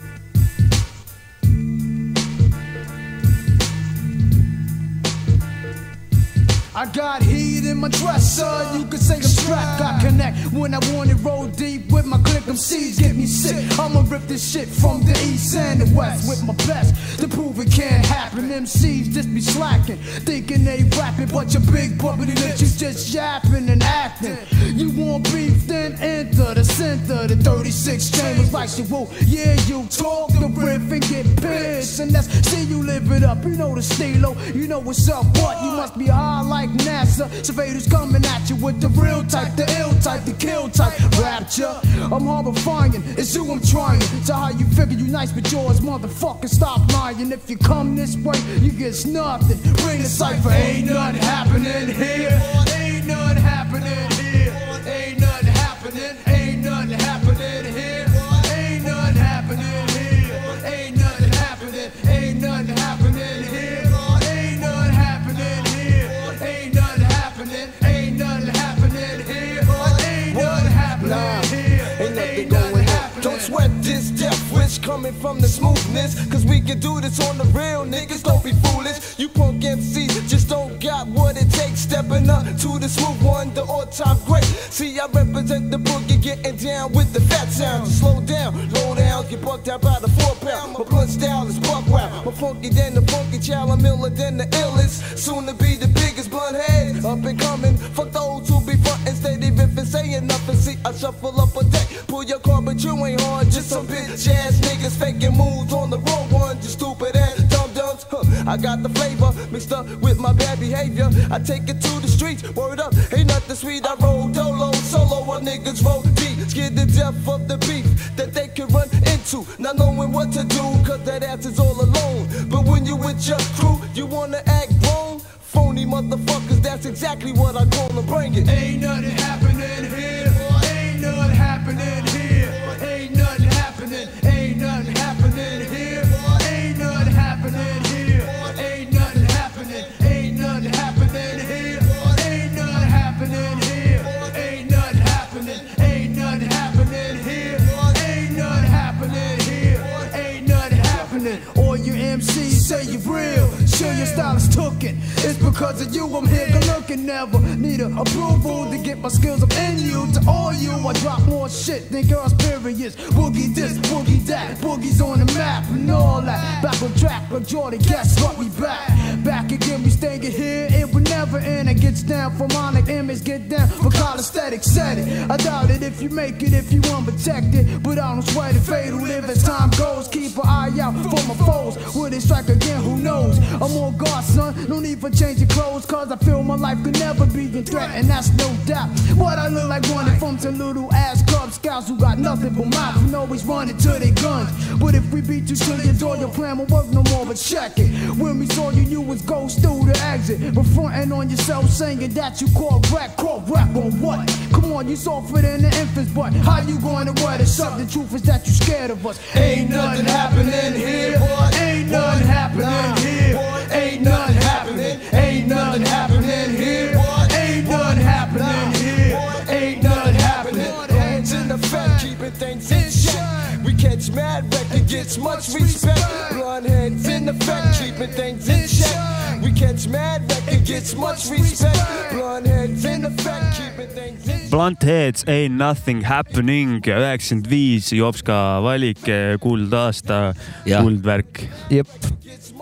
H: I got heat in my dresser, you could say I'm strapped. I connect when I want it, roll deep with my click. Them C's get me sick. I'ma rip this shit from the east and the west with my best to prove it can't happen. MCs just be slacking, thinking they rapping, but your big bubbly lips you just yapping and acting. You want beef, then enter the center. The 36 chambers like you will. Yeah, you talk the riff and get pissed, and that's see you live it up. You know the stilo, you know what's up. What you must be high like NASA. Surveyors coming at you with the real type, the ill type, the kill type. Rapture, I'm horrifying. It's you I'm trying to how you figure you nice, but yours motherfucker. Stop lying. If you come this way, you get nothing. Bring the cipher. Ain't nothing happening here. Ain't nothing happening here. Ain't nothing happening. Ain't nothing happening here. Ain't nothing happening here. Ain't nothing happening. Ain't nothing happening here. Ain't nothing happening here. Ain't nothing happening. Ain't nothing happening here. Ain't nothing happening here.
I: Ain't nothing going on. Don't sweat this death wish coming from the smoothness. Cause we can do this on the real, niggas. Don't be foolish. You punk MCs just don't got what it takes. Stepping up to the smooth one, the all time great. See, I represent the boogie, getting down with the fat sound. Just slow down, low down, get bucked out by the four pound. My blunt style is buck wild. More funky than the funky child. I'm iller than the illest. Soon to be the biggest blunt head. Up and coming. Fuck those who be frontin', steady riffin', saying nothing. See, I shuffle up a deck. Pull your car, but you ain't hard. Just some bitch ass niggas faking moves on the wrong one. Just stupid ass dumb dumbs. Huh. I got the flavor mixed up with my bad behavior. I take it to the streets. Word up, ain't nothing sweet. I roll dolo, solo. While niggas roll deep. Scared the death of the beef that they can run into. Not knowing what to do, cause that ass is all alone. But when you with your crew, you wanna act grown. Phony motherfuckers, that's exactly what I call them. Bring it.
H: Ain't nothing happening here. Ain't nothing happening here. Ain't nothing happening. Ain't nothing happening here. Ain't nothing happening here. Ain't nothing happening. Ain't nothing happening here. Ain't nothing happening here. Ain't nothing happening. Ain't nothing happening here. Ain't nothing happening here. Ain't nothing happening. All you MCs say you real. Sure, your style is tookin'. It's because of you I'm here good looking. Never need a approval to get my skills up in you. To all you, I drop more shit than girls, periods. Boogie this, boogie that. Boogie's on the map and all that. Back on track, but Jordan, guess what? We back. Back again, we staying here. It will never end. It gets down for monic image, get down for calisthenics. Said it. I doubt it if you make it, if you unprotected. But I don't sweat it, fatal live as time goes. Keep an eye out for my foes. Will they strike again? Who knows? I'm on guard, son. No need for changing clothes, cause I feel my life could never be in threat, and that's no doubt. What I look like running from some little ass Cub Scouts who got nothing but mouths and always running to their guns. But if we beat you to your door, your plan won't work no more, but check it. When we saw you, you was ghost through the exit. But fronting on yourself, saying that you called rap, called rap on what? Come on, you softer than the infant's butt. How you going to wear this up? The truth is that you scared of us. Ain't nothing happening here. Ain't nothing happening here. Ain't nothing happening. Ain't nothing happening here. Ain't nothing happening here. Ain't nothing happening.
I: Hands in the fat, keeping things in check. We catch mad wreck, it gets much respect. Blonde heads in the fat, keeping things in check. We catch mad wreck, it gets much respect. Blonde heads in the fat, keeping things in check.
B: Blunt Heads Ain't Nothing Happening üheksakümmend viis Jopska valik , kuldaasta ,
C: Jah.
B: kuldvärk .
A: jep ,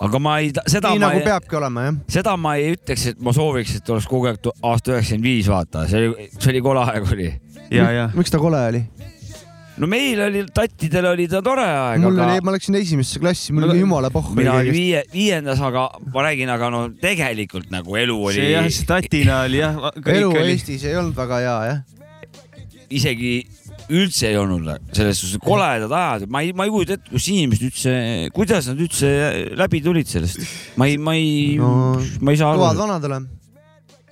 C: aga ma ei , seda
A: nii
C: ma
A: nagu
C: ei ,
A: peabki olema jah .
C: seda ma ei ütleks , et ma sooviks , et oleks kogu aeg tu- aasta üheksakümmend viis , vaata , see oli , see oli kole aeg oli .
B: ja , ja
A: miks ta kole oli ?
C: no meil oli , tattidel oli ta tore aeg ,
A: mul
C: aga
A: oli , ma läksin esimesse klassi , mul
B: Mul-
A: oli jumala pohhu .
C: mina olin viie , viiendas , aga ma räägin , aga no tegelikult nagu elu oli
B: see jah , see tatina oli jah , kõik
A: elu
B: oli ,
A: Eestis ei olnud väga hea jah .
C: isegi üldse ei olnud selles suhtes koledad ajad , ma ei , ma ei kujuta ette , kus inimesed üldse , kuidas nad üldse läbi tulid sellest . ma ei , ma ei
A: No,
C: no, , ma ei saa
A: toad
C: aru .
A: vanad oleme .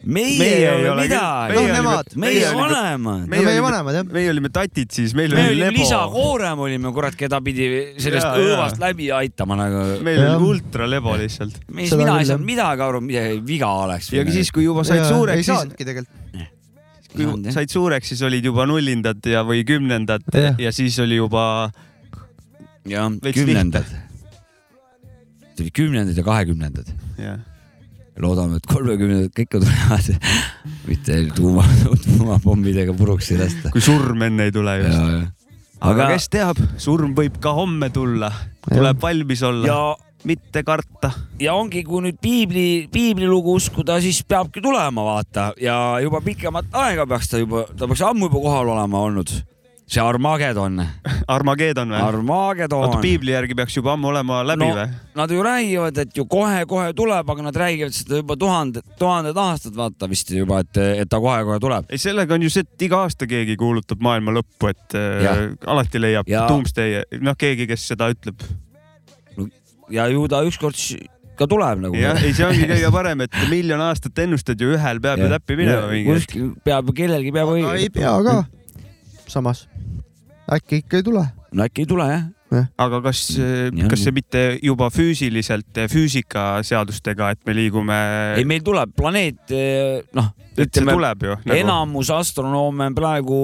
C: meie,
B: Meie
C: ei
B: ei
C: ole
B: ole
C: midagi ,
B: küll-
A: meie
C: meie,
A: olime-
C: no, meie,
B: meie
C: meie
B: olime-
C: vanemad .
A: meie,
B: Meie
A: meie
B: olime-
A: vanemad jah .
B: meie olime tatid siis , meil
C: me
B: oli
C: olime Liisa
B: lebo ,
C: Koorem olime , kurat , keda pidi sellest
B: Jaa,
C: ja,
B: jaa.
C: õõvast läbi aitama nagu .
B: meil
A: Jah.
B: oli ultralebo lihtsalt .
C: mis
A: Seda
C: mina ei
A: küll,
C: saanud midagi aru , midagi viga oleks .
B: ja siis , kui juba said
A: ei
B: suureks , siis
A: saanudki tegelikult .
B: kui
C: Ei saanud, jah.
B: said suureks , siis olid juba nullindad ja , või kümnendad
A: Jah.
B: ja siis oli juba ,
C: jah ,
B: Veits
C: kümnendad . tuli kümnendad ja kahekümnendad .
B: jah .
C: loodame , et kolmekümnendad kõik tulevad , mitte tuuma , [laughs] tuumapommidega puruks ei lasta .
B: kui surm enne ei tule just .
C: aga,
B: aga
C: aga
B: kes teab , surm võib ka homme tulla , tuleb valmis olla ,
C: ja ,
B: mitte karta .
C: ja ongi , kui nüüd piibli , piiblilugu uskuda , siis peabki tulema , vaata , ja juba pikemat aega peaks ta juba , ta peaks ammu juba kohal olema olnud . see
B: [laughs]
C: Armagedon ,
B: Armageddon või ? oota ,
C: Armagedon .
B: piibli järgi peaks juba ammu olema läbi
C: No,
B: no. või ?
C: Nad ju räägivad , et ju kohe-kohe tuleb , aga nad räägivad seda juba tuhanded , tuhanded aastad , vaata vist juba , et , et ta kohe-kohe tuleb .
B: ei , sellega on ju see , et iga aasta keegi kuulutab maailma lõppu , et ja.
C: Jah.
B: alati leiab ja.
C: Ja-
B: Doomsday , noh , keegi , kes seda ütleb .
C: ja ju ta ükskord siis ka tuleb nagu .
B: jah , ei , see ongi kõige parem , et miljon aastat ennustad ju ühel peab ju täppi minema mingi hetk .
C: kuskil peab , kellelgi peab
A: aga ei pea ka . samas , äkki ikka ei tule .
C: no äkki ei tule jah .
B: aga kas
C: Nii , on.
B: kas see mitte juba füüsiliselt füüsikaseadustega , et me liigume ,
C: ei , meil tuleb planeet , noh ,
B: et see
C: ütleme
B: tuleb ju
C: nagu...
B: nagu ?
C: enamus astronoome on praegu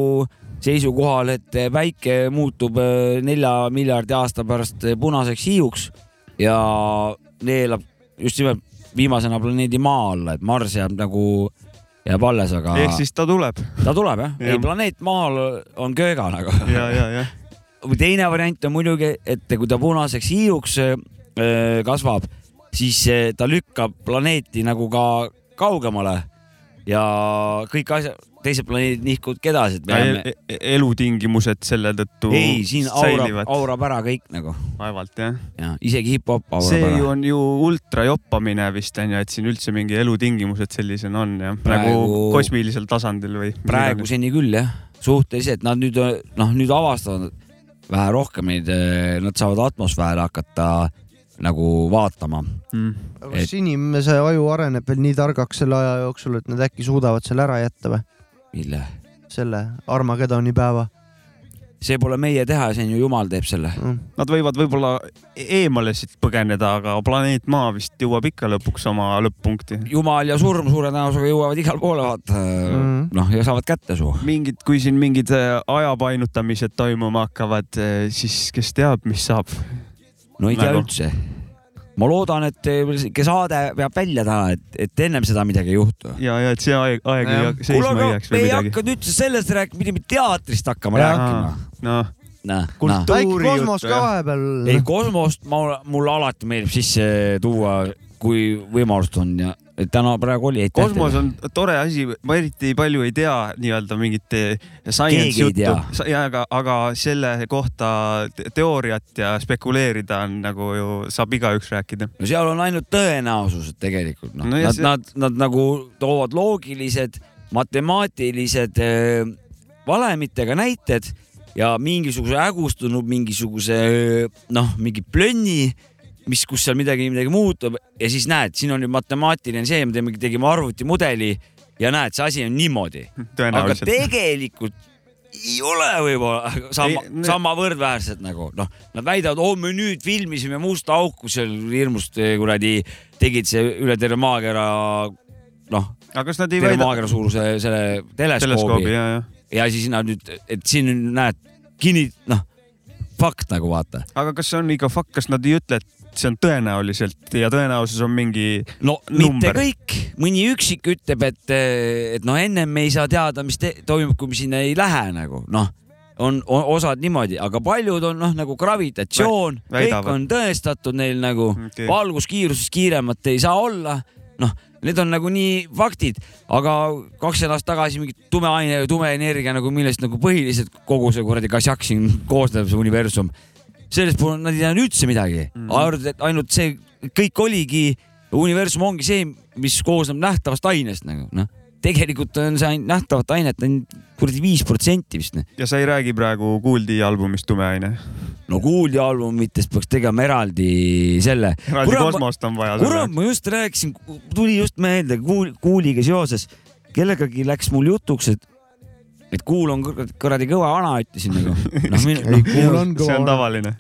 C: seisukohal , et päike muutub äh, nelja miljardi aasta pärast äh, punaseks hiiuks ja neelab just nimelt viimasena planeedi Maa alla , et Marss jääb nagu , jääb alles , aga
B: ehk siis ta tuleb
C: ta tuleb jah ja. ,
B: Jah.
C: ei planeet Maal on [laughs] kööga nagu .
B: ja , ja , jah .
C: Või teine variant on muidugi , et kui ta punaseks hiiuks äh, kasvab , siis äh, ta lükkab planeeti nagu ka kaugemale ja kõik asjad , teised planeedid nihkuvad edasi , et me
B: e-
C: jääme ,
B: elutingimused selle tõttu
C: ei siin aurab ,
B: säilivad
C: aurab ära kõik nagu
B: vaevalt jah .
C: ja isegi hip-hop
B: see
C: aurab
B: ju
C: ära .
B: on ju ultrajoppamine vist on ju , et siin üldse mingi elutingimused sellisena on jah , nagu
C: Praegu-
B: kosmilisel tasandil või ?
C: praeguseni küll jah , suhteliselt nad nüüd äh, noh , nüüd avastavad vähe rohkem neid , nad saavad atmosfääri hakata nagu vaatama
B: mm. .
A: aga kas inimese aju areneb veel nii targaks selle aja jooksul , et nad äkki suudavad selle ära jätta või ?
C: mille ,
A: selle Armagedoni päeva
C: see pole meie teha , see on ju jumal teeb selle .
A: mm. .
B: Nad võivad võib-olla eemale siit põgeneda , aga planeet Maa vist jõuab ikka lõpuks oma lõpp-punkti .
C: jumal ja surm suure tõenäosusega jõuavad igale poole , vaata mm.
A: Mm. .
C: noh , ja saavad kätte su .
B: mingid , kui siin mingid äh, ajapainutamised toimuma hakkavad , siis kes teab , mis saab . Nagu-
C: no ei tea
B: Väga.
C: üldse . ma loodan , et eh, see saade peab välja täna , et , et ennem seda midagi ei juhtu .
B: ja , ja et see aeg , aeg ei
A: Jah.
B: hak-
C: kuule ,
B: seisma
C: aga
B: ei jääks
C: me
B: või
C: ei
B: midagi .
C: hakanud üldse sellest rääkima , pidime teatrist hakkama
A: Jaa.
C: rääkima .
B: noh ,
C: noh , noh .
B: Kultuuri
A: äkki kosmos
B: juttu,
A: ka
B: jah.
C: ei
A: vahepeal .
C: kosmost ma , mulle alati meeldib sisse tuua , kui võimalust on ja et täna praegu oli .
B: kosmos on tore asi , ma eriti palju ei tea nii-öelda mingit eh, science
C: Keegi ei
B: juttu
C: tea. ,
B: aga , aga selle kohta te- teooriat ja spekuleerida on nagu ju saab igaüks rääkida .
C: no seal on ainult tõenäosused tegelikult , noh
B: No
C: no, ,
B: ja
C: nad
B: see-
C: see... , nad , nad nagu toovad loogilised , matemaatilised öö, valemitega näited ja mingisuguse ägustunud mingisuguse öö, noh , mingi plönni , mis , kus seal midagi , midagi muutub ja siis näed , siin on nüüd matemaatiline see , me teeme , tegime arvutimudeli ja näed , see asi on niimoodi , aga
B: tõenäoliselt .
C: tegelikult ei ole võib-olla sama
B: Ei, , ne-
C: samavõrd väärsed nagu noh , nad väidavad , oo me nüüd filmisime musta auku seal hirmust eh, kuradi , tegid see üle terve maakera noh ,
B: aga kas nad ei
C: terve
B: väida
C: maakera suuruse selle
B: teleskoobi
C: teleskoobi
B: ja , ja .
C: ja siis nad nüüd , et siin nüüd näed kinni noh , fakt nagu vaata ,
B: aga kas see on ikka fakt , kas nad ei ütle , et see on tõenäoliselt ja tõenäosus on mingi
C: no
B: Number.
C: mitte kõik , mõni üksik ütleb , et , et noh , ennem me ei saa teada , mis te, toimub , kui me sinna ei lähe nagu noh , on o- osad niimoodi , aga paljud on noh , nagu gravitatsioon ,
B: Vä- väidavad.
C: kõik on tõestatud neil nagu
B: Okei.
C: okay. valguskiirusest kiiremat ei saa olla , noh , need on nagunii faktid , aga kakskümmend aastat tagasi mingi tume aine ja tume energia nagu millest nagu põhiliselt kogu see kuradi kasjak siin koosneb , see universum . sellest puhul nad ei teadnud üldse midagi mm. , arvavad , et ainult see kõik oligi , universum ongi see , mis koosneb nähtavast ainest nagu noh , tegelikult on see ainult nähtavat ainet ainult kuradi viis protsenti vist noh .
B: ja sa ei räägi praegu Kuuldi albumist Tume aine .
C: no Kuuldi albumitest peaks tegema eraldi selle .
B: eraldi kosmost on vaja .
C: kurat , ma just rääkisin , tuli just meelde kuul, kuuliga seoses , kellegagi läks mul jutuks , et , et kuul on kur- kuradi kõva vana , ütlesin
A: [laughs]
C: nagu no, .
A: Ei, kuul on kõva
B: see on
A: vana.
B: tavaline .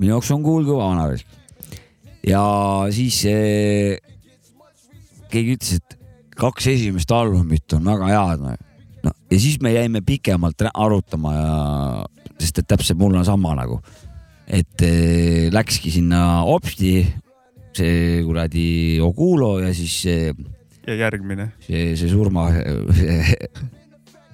C: minu jaoks on kuul kõva vana risk . ja siis eh, keegi ütles , et kaks esimest albumit on väga head no. . no ja siis me jäime pikemalt rä- arutama ja , sest et täpselt mul on sama nagu , et eh, läkski sinna Opsti see kuradi Ogulo ja siis see
B: ja järgmine .
C: see , see surma [laughs]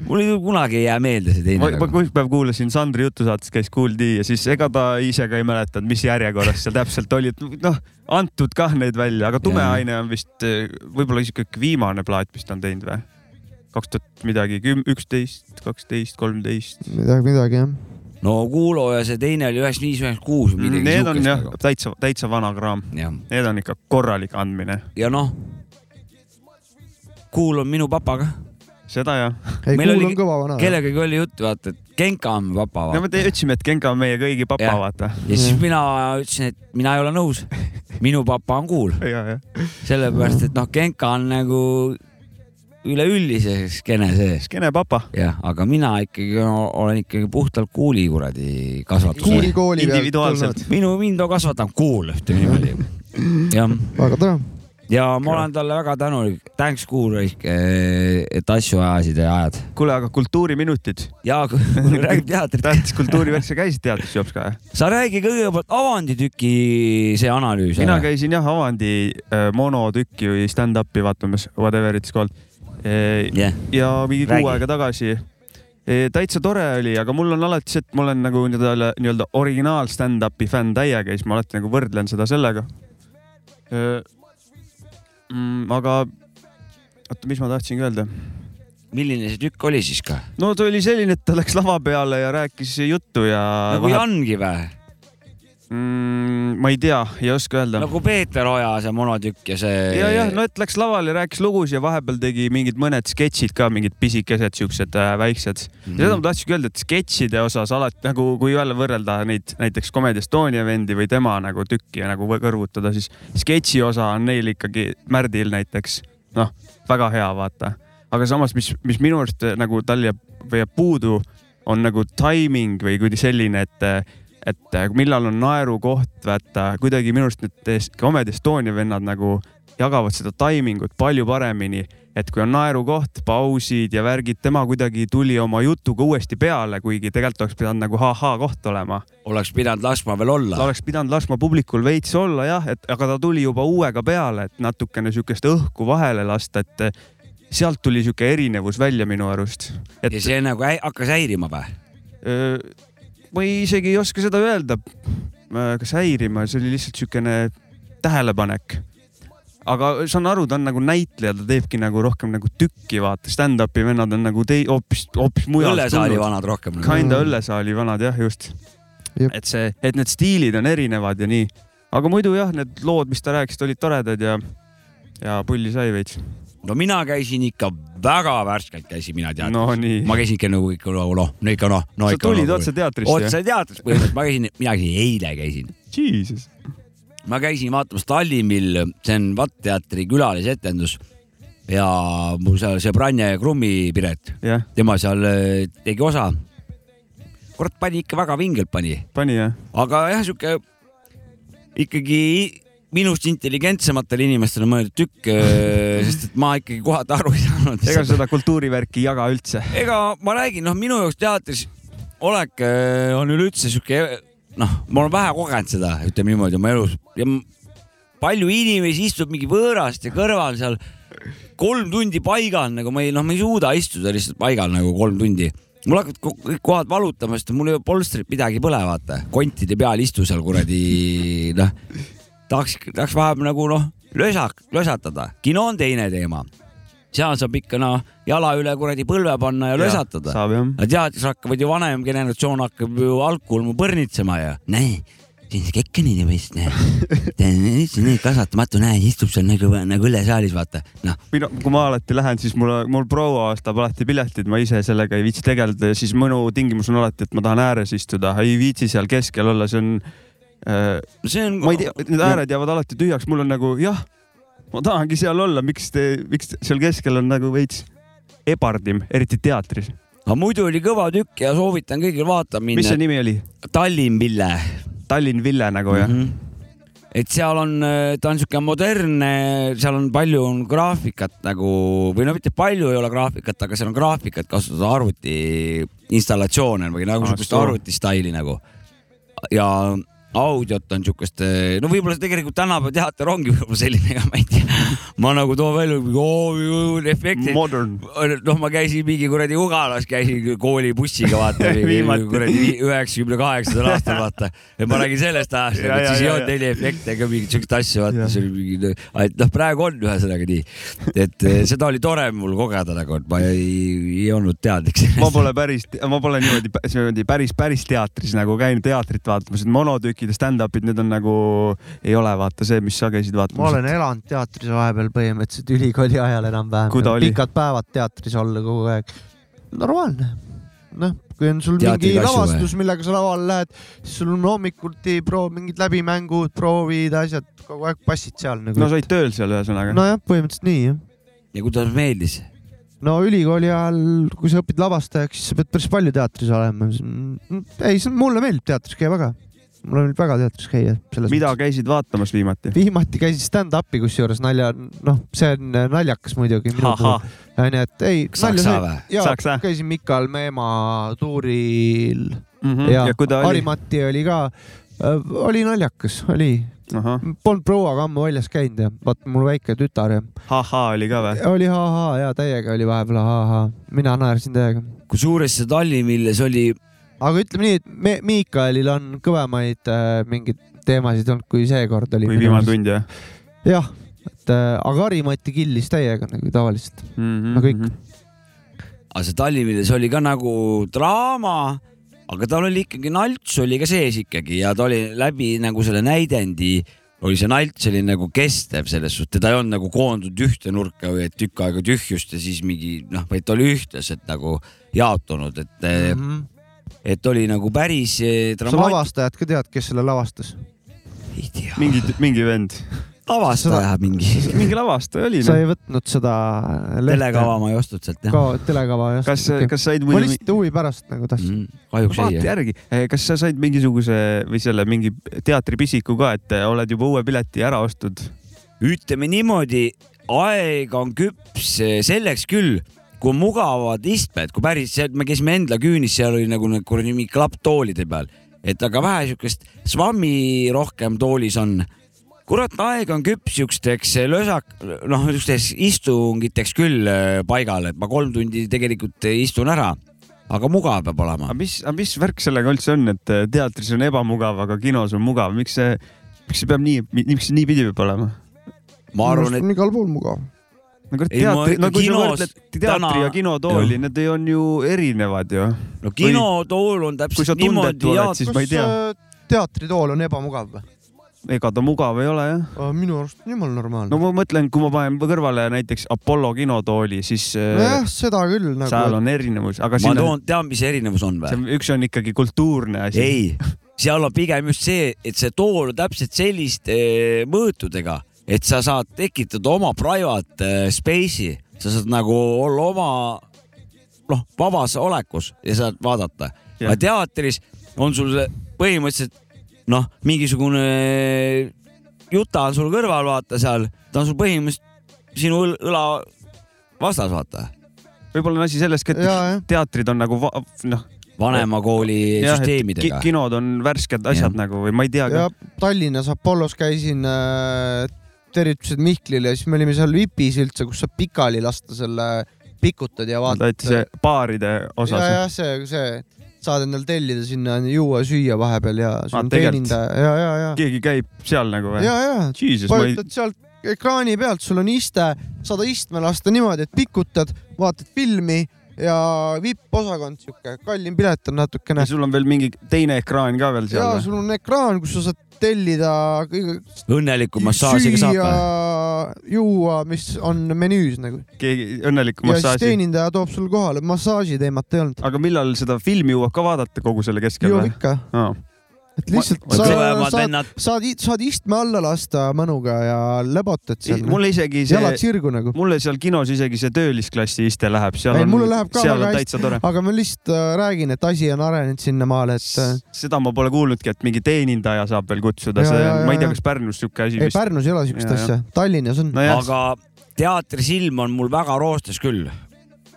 C: mul ei- kunagi ei jää meelde see
B: ma,
C: teine
B: ma . kuupäev kuulasin Sandri jutusaates käis Kuuldi ja siis ega ta ise ka ei mäletanud , mis järjekorras seal täpselt oli , et noh , antud kah neid välja , aga Tume
C: Jaa.
B: aine on vist eh, võib-olla isegi kõik viimane plaat , mis ta on teinud või ? kaks tuhat midagi , küm- , üksteist , kaksteist , kolmteist .
A: midagi , midagi jah .
C: no Kuulo ja see teine oli üheksakümmend viis , üheksakümmend kuus või midagi
B: Mm, Need on jah
C: nagu. ,
B: täitsa , täitsa vana kraam ,
C: jah .
B: need on ikka korralik andmine ,
C: ja noh , Kuul on minu papaga .
B: seda jah .
A: ei ,
C: Meil
A: kuul
C: oli-
A: on kõva vana .
C: kellegagi oli juttu , vaata , et Genka on mu papa
B: no
C: vaata.
B: me te- ütlesime , et Genka on meie kõigi papa
C: Jah. ,
B: vaata .
C: ja siis mina ütlesin , et mina ei ole nõus . minu papa on
B: [laughs]
C: Kuul ,
B: ja , ja ,
C: sellepärast et noh , Genka on nagu üleüldise skeene sees
B: kene papa .
C: jah , aga mina ikkagi no, olen ikkagi puhtalt kuuli kuradi kasvatuse .
A: kuuli kooli pealt
B: Individuaalselt.
A: tulnud .
C: minu mind on kasvatanud kuul ühte
B: [laughs]
C: niimoodi . jah ,
A: väga tore .
C: ja ma olen talle väga tänulik , thanks kuul , et asju ajasid ja ajad .
B: kuule , aga kultuuriminutid ,
C: ja [laughs] kui kui räägib teatrit ,
B: tähtis kultuurivärk , sa käisid teatris jops ka jah ?
C: sa räägi kõigepealt avanditüki see analüüs
B: mina . käisin jah Avandi äh, monotükki või stand-up'i vaatamas , whatever it's called e .
C: jah ,
B: ja mingi
C: Räägi.
B: kuu aega tagasi e . täitsa tore oli , aga mul on alati see , et ma olen nagu nii-öelda , nii-öelda originaal stand-up'i fänn täiega ja siis ma alati nagu võrdlen seda sellega e . Mm, aga oota , mis ma tahtsingi öelda ?
C: milline see tükk oli siis ka ?
B: no ta oli selline , et ta läks lava peale ja rääkis juttu ja
C: nagu
B: vahe-
C: Jangi või ?
B: mm, ma ei tea , ei oska öelda
C: nagu Peeter Oja see monotükk ja see .
B: ja , jah , no et läks lavale , rääkis lugusid ja vahepeal tegi mingid mõned sketšid ka , mingid pisikesed , siuksed äh, väiksed mm . -hmm. seda ma tahtsingi öelda , et sketšide osas alati nagu , kui jälle võrrelda neid näiteks Comedy Estonia vendi või tema nagu tükki ja nagu võ- kõrvutada , siis sketši osa on neil ikkagi Märdil näiteks noh , väga hea , vaata . aga samas , mis , mis minu arust äh, nagu tal jääb , jääb puudu , on nagu timing või kuidagi selline , et äh, et äh, millal on naerukoht , vaata kuidagi minu arust need äh, Comedy Estonia vennad nagu jagavad seda taimingut palju paremini , et kui on naerukoht , pausid ja värgid , tema kuidagi tuli oma jutuga uuesti peale , kuigi tegelikult oleks pidanud nagu ha-ha koht olema .
C: oleks pidanud laskma veel
B: ta
C: olla .
B: oleks pidanud laskma publikul veits olla jah , et aga ta tuli juba uuega peale , et natukene siukest õhku vahele lasta , et sealt tuli siuke erinevus välja minu arust . et
C: ja see nagu hä- hakkas häirima või ?
B: öö, Äh, ma ei- isegi ei oska seda öelda , kas häirima , see oli lihtsalt siukene tähelepanek . aga saan aru , ta on nagu näitleja , ta teebki nagu rohkem nagu tükki , vaata , stand-up'i vennad on nagu tei- , hoopis , hoopis mujalt
C: õllesaali
B: tulnud .
C: vanad rohkem . nagu.
B: Kinda õllesaali vanad jah , just .
A: Jep.
B: et see , et need stiilid on erinevad ja nii . aga muidu jah , need lood , mis ta rääkis , olid toredad ja , ja pulli sai veits .
C: no mina käisin ikka väga värskelt käisin mina teatris no. .
B: no nii .
C: ma käisin ikka nagu ikka noh , noh , no ikka noh , no
B: sa
C: ikka
B: tulid
C: noh,
B: otse teatrisse ?
C: otse teatris põhimõtteliselt , ma käisin , mina käisin eile käisin ,
B: Jesus .
C: ma käisin vaatamas Tallinnil , see on VAT teatri külalisetendus ja mu seal sõbrannja ja Krummi Piret ,
B: jah ,
C: tema seal äh, tegi osa . kurat , pani ikka väga vingelt pani ,
B: pani jah ?
C: aga jah , sihuke ikkagi minust intelligentsematele inimestele mõeldud tükk ,
B: [laughs]
C: sest et ma ikkagi kohati aru ei saanud .
B: ega seda kultuurivärki ei jaga üldse .
C: ega ma räägin , noh , minu jaoks teatris olek äh, on üleüldse sihuke , noh , ma olen vähe kogenud seda , ütleme niimoodi oma elus ja m- palju inimesi istub mingi võõraste kõrval seal kolm tundi paigal , nagu ma ei , noh , ma ei suuda istuda lihtsalt paigal nagu kolm tundi . mul hakkavad ko- kõik kohad valutama , sest mul ei ole polstrit midagi põle , vaata , kontide peal istu seal kuradi , noh , tahaks , tahaks vahepeal nagu noh , lösak , lösatada , kino on teine teema . seal saab ikka noh , jala üle kuradi põlve panna ja lösatada .
B: saab jah .
C: aga teatris hakkavad ju vanem generatsioon hakkab ju algkulmu põrnitsema ja . näe , siin see Kekkenini meist näe , ta on üldse nii kasvatamatu , näe , istub seal nagu , nagu ülesaalis , vaata , noh .
B: mina , kui ma alati lähen , siis mul , mul proua ostab alati piletid , ma ise sellega ei viitsi tegeleda ja siis minu tingimus on alati , et ma tahan ääres istuda , ei viitsi seal keskel olla , see on äh, ,
C: see on .
B: ma ei tea , need ääred jäävad alati tühjaks , mul on nagu jah , ma tahangi seal olla , miks te , miks te- seal keskel on nagu veits ebardim , eriti teatris .
C: aga muidu oli kõva tükk ja soovitan kõigil vaatama
B: mis see
C: minna .
B: nimi oli ?
C: Tallinn Ville
B: Tallinn Ville nagu jah mm ?
C: Mhm. et seal on , ta on niisugune modernne , seal on palju on graafikat nagu või no mitte palju ei ole graafikat , aga seal on graafikat kasutada arvuti installatsioone või nagu
B: Ah,
C: niisugust
B: soo.
C: arvutistaili nagu . ja audiot on niisugust , no võib-olla tegelikult tänapäeva teater ongi võib-olla selline , [laughs] ega ma ei tea . ma nagu toon välja oo, efekti
B: -hmm. . Modern .
C: noh , ma käisin mingi kuradi Ugalas , käisin koolibussiga vaata
B: [laughs] Viimati.
C: mingi kuradi üheksakümne kaheksandal aastal vaata . et ma räägin sellest ajast ,
B: Ja, ja,
C: siis ei
B: ja,
C: olnud
B: ja.
C: heliefekte ega mingit siukest asja ,
B: Ja.
C: vaata see oli mingi , noh , praegu on ühesõnaga nii . et eh, seda oli tore mul kogeda nagu , et ma ei, ei olnud teadlik
B: ma
C: sellest .
B: pole päris , ma pole niimoodi , niimoodi päris , päris teatris nagu käinud teatrit vaatamas , et monotükid ja stand-up'id , need on nagu , ei ole vaata see , mis sa käisid
A: ma olen
B: vaatamas .
A: elanud teatris vahepeal põhimõtteliselt ülikooli ajal
B: Kui ta
A: enam-vähem .
B: oli?
A: pikad päevad teatris olla kogu aeg . normaalne . noh , kui on sul
C: Teatri
A: mingi
C: kasvu
A: lavastus , millega sa lavale lähed , siis sul on hommikuti proov , mingid läbimängud , proovid , asjad , kogu aeg passid seal nagu
B: no . sa olid tööl seal ühesõnaga no. .
A: nojah , põhimõtteliselt nii jah .
C: ja kuidas meeldis ?
A: no ülikooli ajal , kui sa õpid lavastajaks , siis sa pead päris palju teatris olema . ei , mulle meeldib teatris käia väga . mulle meeldib väga teatris käia .
B: mida käisid vaatamas viimati ?
A: viimati käisin stand-up'i kusjuures nalja , noh , see on naljakas muidugi minu puhul , onju , et ei .
C: Saksa või ?
B: Saksa?
A: käisin Mikal Meemaa tuuril ja,
B: Mhm. ja kui ta
A: ja
B: oli ?
A: Harimati oli ka , oli naljakas , oli . Polnud prouaga ammu väljas käinud ja vaat mul väike tütar ja
B: ahhaa oli ka või ?
A: oli ha-ha ja täiega oli vahepeal ha-ha , mina naersin täiega .
C: kusjuures see Tallinn , milles oli ,
A: aga ütleme nii , et me- Miikalil on kõvemaid äh, mingeid teemasid olnud , kui seekord oli .
B: või viimane . tund jah
A: jah , et äh, aga Harimati killis täiega nagu tavaliselt .
B: mm ? -hmm.
A: No kõik. .
C: aga see Tallinn , milles oli ka nagu draama aga tal oli ikkagi nalts oli ka sees ikkagi ja ta oli läbi nagu selle näidendi , oli see nalts oli nagu kestev selles suhtes , teda ei olnud nagu koondunud ühte nurka või et tükk aega tühjust ja siis mingi noh , vaid ta oli ühtlaselt nagu jaotunud , et mm , -hmm.
A: sa
C: et oli nagu päris dramaatiline .
A: lavastajat ka tead , kes selle lavastas ?
C: ei tea ,
B: mingi , mingi vend ,
C: lavastaja mingi
B: [laughs] mingi lavastaja oli . noh.
A: sa ei võtnud seda lehte-
C: telekava ma ei ostnud sealt jah .
A: ka- telekava jah .
B: kas , kas said
A: ma
B: mõni ,
A: lihtsalt huvi pärast nagu tahtsin .
C: kahjuks ei
B: vaata
C: jah .
B: järgi , kas sa said mingisuguse või selle mingi teatripisiku ka , et eh, oled juba uue pileti ära ostnud ?
C: ütleme niimoodi , aeg on küps eh, selleks küll , kui on mugavad istmed , kui päris , me käisime Endla küünis , seal oli nagu need kuradi mingi klapptoolide peal , et aga vähe siukest svammi rohkem toolis on . kurat , aeg on küps siukesteks eh, lösak- , noh , siukesteks istungiteks küll äh, paigal , et ma kolm tundi tegelikult eh, istun ära , aga mugav peab olema
B: aga . mis , aga mis värk sellega üldse on , et eh, teatris on ebamugav , aga kinos on mugav , miks see , miks see peab nii , miks see niipidi peab olema ?
C: ma arvan , et
A: on igal pool mugav .
B: no kurat ,
C: Ei, ma
B: teatri ,
C: ikka
B: no kui sa
C: kinos
B: võrdled teatri
C: täna-
B: ja kinotooli ,
C: Jah.
B: need ei- on ju erinevad ju .
C: no kinotool on
B: kui sa
C: täpselt niimoodi
B: tundetu oled ,
C: jaotatud
B: siis ma ei tea ,
A: äh, teatritool on ebamugav või ?
B: ega ta mugav ei ole jah .
A: minu arust on jumala
B: no
A: normaalne .
B: ma mõtlen , kui ma panen kõrvale näiteks Apollo kinotooli , siis äh,
A: nojah , seda küll
B: seal
A: nagu .
B: on erinevus , aga
C: ma
B: siin on ,
C: toon , tean , mis erinevus on või ?
B: üks on ikkagi kultuurne asi .
C: ei , seal on pigem just see , et see tool on täpselt selliste eh, mõõtudega , et sa saad tekitada oma private eh, space'i , sa saad nagu olla oma noh , vabas olekus ja saad vaadata .
B: Jah.
C: aga teatris on sul see põhimõtteliselt noh , mingisugune eh, juta on sul kõrval , vaata seal , ta on sul põhimõtteliselt sinu õl- õla vastas , vaata .
B: võib-olla on asi selles ka , et
A: jaa , jah .
B: teatrid on nagu va- noh ,
C: vanema kooli
B: jah , et ki-
C: süsteemidega .
B: kinod on värsked asjad nagu või ma ei tea .
A: ja Tallinnas Apollos käisin äh, tervitused Mihklile , siis me olime seal Vipis üldse , kus saab pikali lasta selle , pikutad ja
B: ta
A: vaatad
B: ütles . see baaride osas
A: ja , jah , see , see , saad endal tellida sinna juua , süüa vahepeal ja sul
B: Aa,
A: on
B: tegelikult?
A: teenindaja ja , ja , ja ,
B: keegi käib seal nagu või ?
A: ja , ja
B: Jesus , ma ei ,
A: vajutad sealt ekraani pealt , sul on iste , saad istme lasta niimoodi , et pikutad , vaatad filmi ja vipp-osakond sihuke , kallim pilet on natukene
B: ja . sul on veel mingi teine ekraan ka veel
A: ja
B: seal või ?
A: sul on ekraan , kus sa saad tellida kõige ,
C: õnneliku massaažiga saab
A: süüa
C: või ?,
A: juua , mis on menüüs nagu .
B: keegi õnneliku
A: ja siis
B: massaaži .
A: teenindaja toob sul kohale , massaaži teemat ei olnud .
B: aga millal seda filmi jõuab ka vaadata kogu selle keskel
A: jõuab
B: või ?
A: ikka , et lihtsalt
B: Ma-
A: sa
C: kõvemad
A: saad ,
C: vennad ,
A: saad , saad istme alla lasta mõnuga ja läbotad seal .
B: mulle isegi
A: jalad
B: see ,
A: sirgu nagu .
B: mulle seal kinos isegi see töölisklassi iste läheb , seal
A: Ei, mulle
B: on
A: läheb , ka
B: seal
A: väga
B: on
A: hästi.
B: täitsa tore .
A: aga ma lihtsalt äh, räägin , et asi on arenenud sinnamaale , et äh,
B: seda ma pole kuulnudki , et mingi teenindaja saab veel kutsuda ,
A: Ja,
B: see
A: ja, , ja,
B: ma ei tea ,
A: ja.
B: kas Pärnus sihuke asi
A: ei ,
B: vist .
A: Pärnus ei ole siukest
B: Ja,
A: asja , Tallinnas on .
B: nojah ,
C: aga teatrisilm on mul väga roostes küll .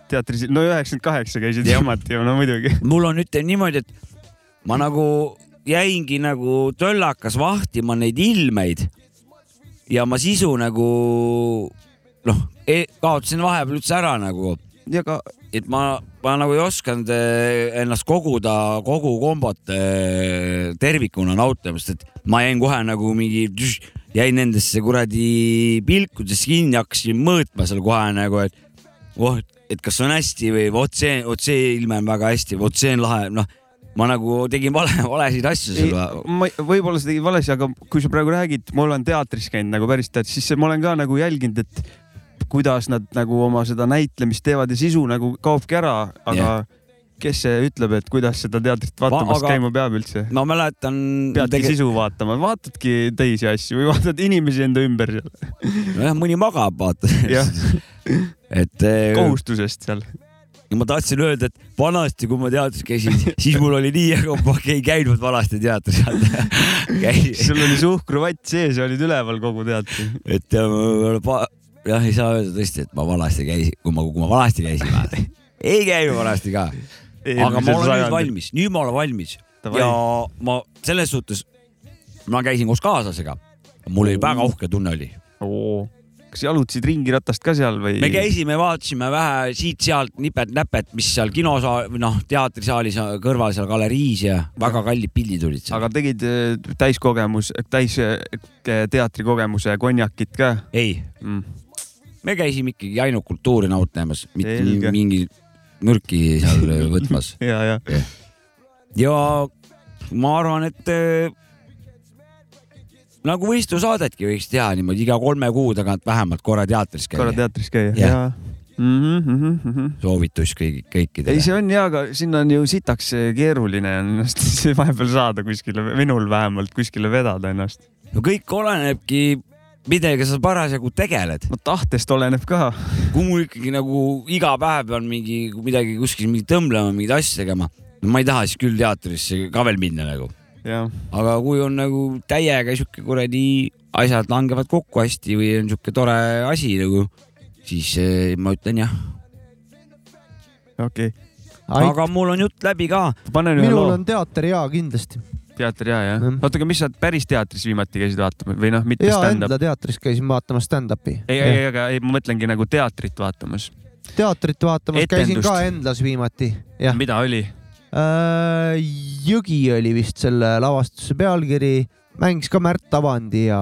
B: teatris , no üheksakümmend kaheksa käisid viimati ju , no muidugi .
C: mul on , ütleme niimoodi , et ma nagu jäingi nagu töllakas vahtima neid ilmeid ja ma sisu nagu noh e , kaotasin vahepeal üldse ära nagu ,
B: ja ka ,
C: et ma , ma nagu ei osanud eh, ennast koguda kogu kombot eh, tervikuna nautima , sest et ma jäin kohe nagu mingi , jäin nendesse kuradi pilkudesse kinni , hakkasin mõõtma seal kohe nagu , et oh , et kas on hästi või vot see , vot see ilme on väga hästi , vot see on lahe , noh , ma nagu tegin vale , [laughs] valesid asju seal .
B: ma ei- võib-olla sa tegid valesti , aga kui sa praegu räägid , ma olen teatris käinud nagu päris teatris , siis ma olen ka nagu jälginud , et kuidas nad nagu oma seda näitlemist teevad ja sisu nagu kaobki ära , aga
C: Jah.
B: yeah. kes see ütleb , et kuidas seda teatrit vaatamas
C: aga-
B: aga... käima peab üldse ?
C: ma mäletan ,
B: peadki Tege... sisu vaatama , vaatadki teisi asju või vaatad inimesi enda ümber seal ,
C: nojah , mõni magab , vaata
B: Jah. .
C: et eh,
B: kohustusest seal .
C: ja ma tahtsin öelda , et vanasti , kui ma teatris
B: [laughs]
C: käisin , siis mul oli nii , aga ma ei käinud vanasti teatris . [laughs]
B: sul oli suhkruvatt sees ja olid üleval kogu teatri .
C: et ja, ma- ma- jah , ei saa öelda tõesti , et ma vanasti käisin , kui ma , kui ma vanasti käisin , ei [laughs] käinud vanasti ka , aga ma olen nüüd . valmis , nüüd ma olen valmis ja ma selles suhtes , ma käisin koos kaaslasega , mul
B: Oh.
C: oli väga uhke tunne oli ,
B: kas jalutasid ringiratast ka seal või ?
C: me käisime , vaatasime vähe siit-sealt nipet-näpet , mis seal kinosaal või noh , teatrisaalis kõrval seal galeriis ja väga kallid pildid olid seal .
B: aga tegid eh, täiskogemus , täis eh, teatrikogemuse konjakit ka
C: ei ,
B: mm. ?
C: me käisime ikkagi ainult kultuuri nautimas , mitte
B: Selge.
C: Elge. mingi mürki seal
B: [laughs]
C: võtmas
B: ja , ja
C: Eh. ja ma arvan , et äh, nagu võistlusaadetki võiks teha niimoodi iga kolme kuu tagant vähemalt korra teatris
B: korra
C: käia .
B: teatris käia .
C: Jah.
B: jaa mm . -hmm, mm -hmm.
C: soovitus kõigi ,
B: ei ,
C: kõikidele .
B: see on hea , aga sinna on ju sitaks eh, keeruline on ennast [laughs] siis vahepeal saada kuskile , minul vähemalt kuskile vedada ennast .
C: no kõik olenebki , millega sa parasjagu tegeled .
B: no tahtest oleneb ka .
C: kui mul ikkagi nagu iga päev pean mingi midagi kuskil mingi tõmblema , mingeid asju tegema , no ma ei taha siis küll teatrisse ka veel minna nagu .
B: jah ,
C: aga kui on nagu täiega sihuke kuradi asjad langevad kokku hästi või on sihuke tore asi nagu , siis eh, ma ütlen jah .
B: okei okay. .
C: aga mul on jutt läbi ka .
B: panen ühe
A: minul
B: loo .
A: on teater hea kindlasti .
B: teater ja , jah .
A: Mhm.
B: oota , aga mis sa päris teatris viimati käisid vaatamas või noh , mitte
A: ja
B: stand-up ?
A: Endla teatris käisin vaatamas stand-up'i .
B: ei , ei , ei , aga ei , ma mõtlengi nagu teatrit vaatamas .
A: teatrit vaatamas käisin
B: Etendust.
A: ka Endlas viimati , jah .
B: mida oli ?
A: Äh, Jõgi oli vist selle lavastuse pealkiri , mängis ka Märt Avandi ja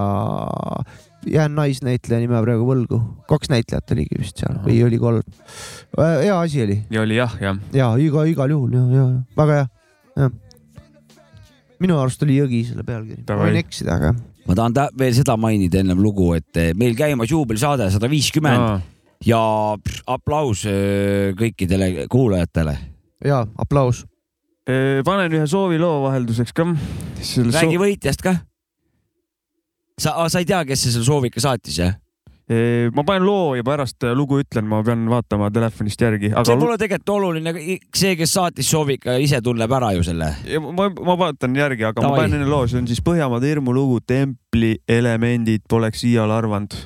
A: jään naisnäitleja nime praegu võlgu , kaks näitlejat oligi vist seal või oli kolm . hea asi oli
B: ja oli jah , jah .
A: ja iga , igal juhul ja , ja , ja väga hea , jah . minu arust oli Jõgi selle pealkiri , ma
B: Davai.
A: võin eksida , aga
C: ma tahan tä- veel seda mainida ennem lugu , et eh, meil käimas juubelisaade sada viiskümmend ja pff, aplaus eh, kõikidele kuulajatele .
A: ja aplaus .
B: panen ühe sooviloo vahelduseks ka .
C: räägi võitjast ka . sa , sa ei tea , kes see selle soovika saatis , jah ?
B: ma panen loo ja pärast eh, lugu ütlen , ma pean vaatama telefonist järgi , aga
C: see pole tegelikult oluline , see , kes saatis soovika , ise tunneb ära ju selle .
B: ja ma , ma vaatan järgi , aga Tavai.
C: Davai.
B: ma panen enne loo , see on siis Põhjamaade hirmulugu Templi elemendid poleks iial arvanud .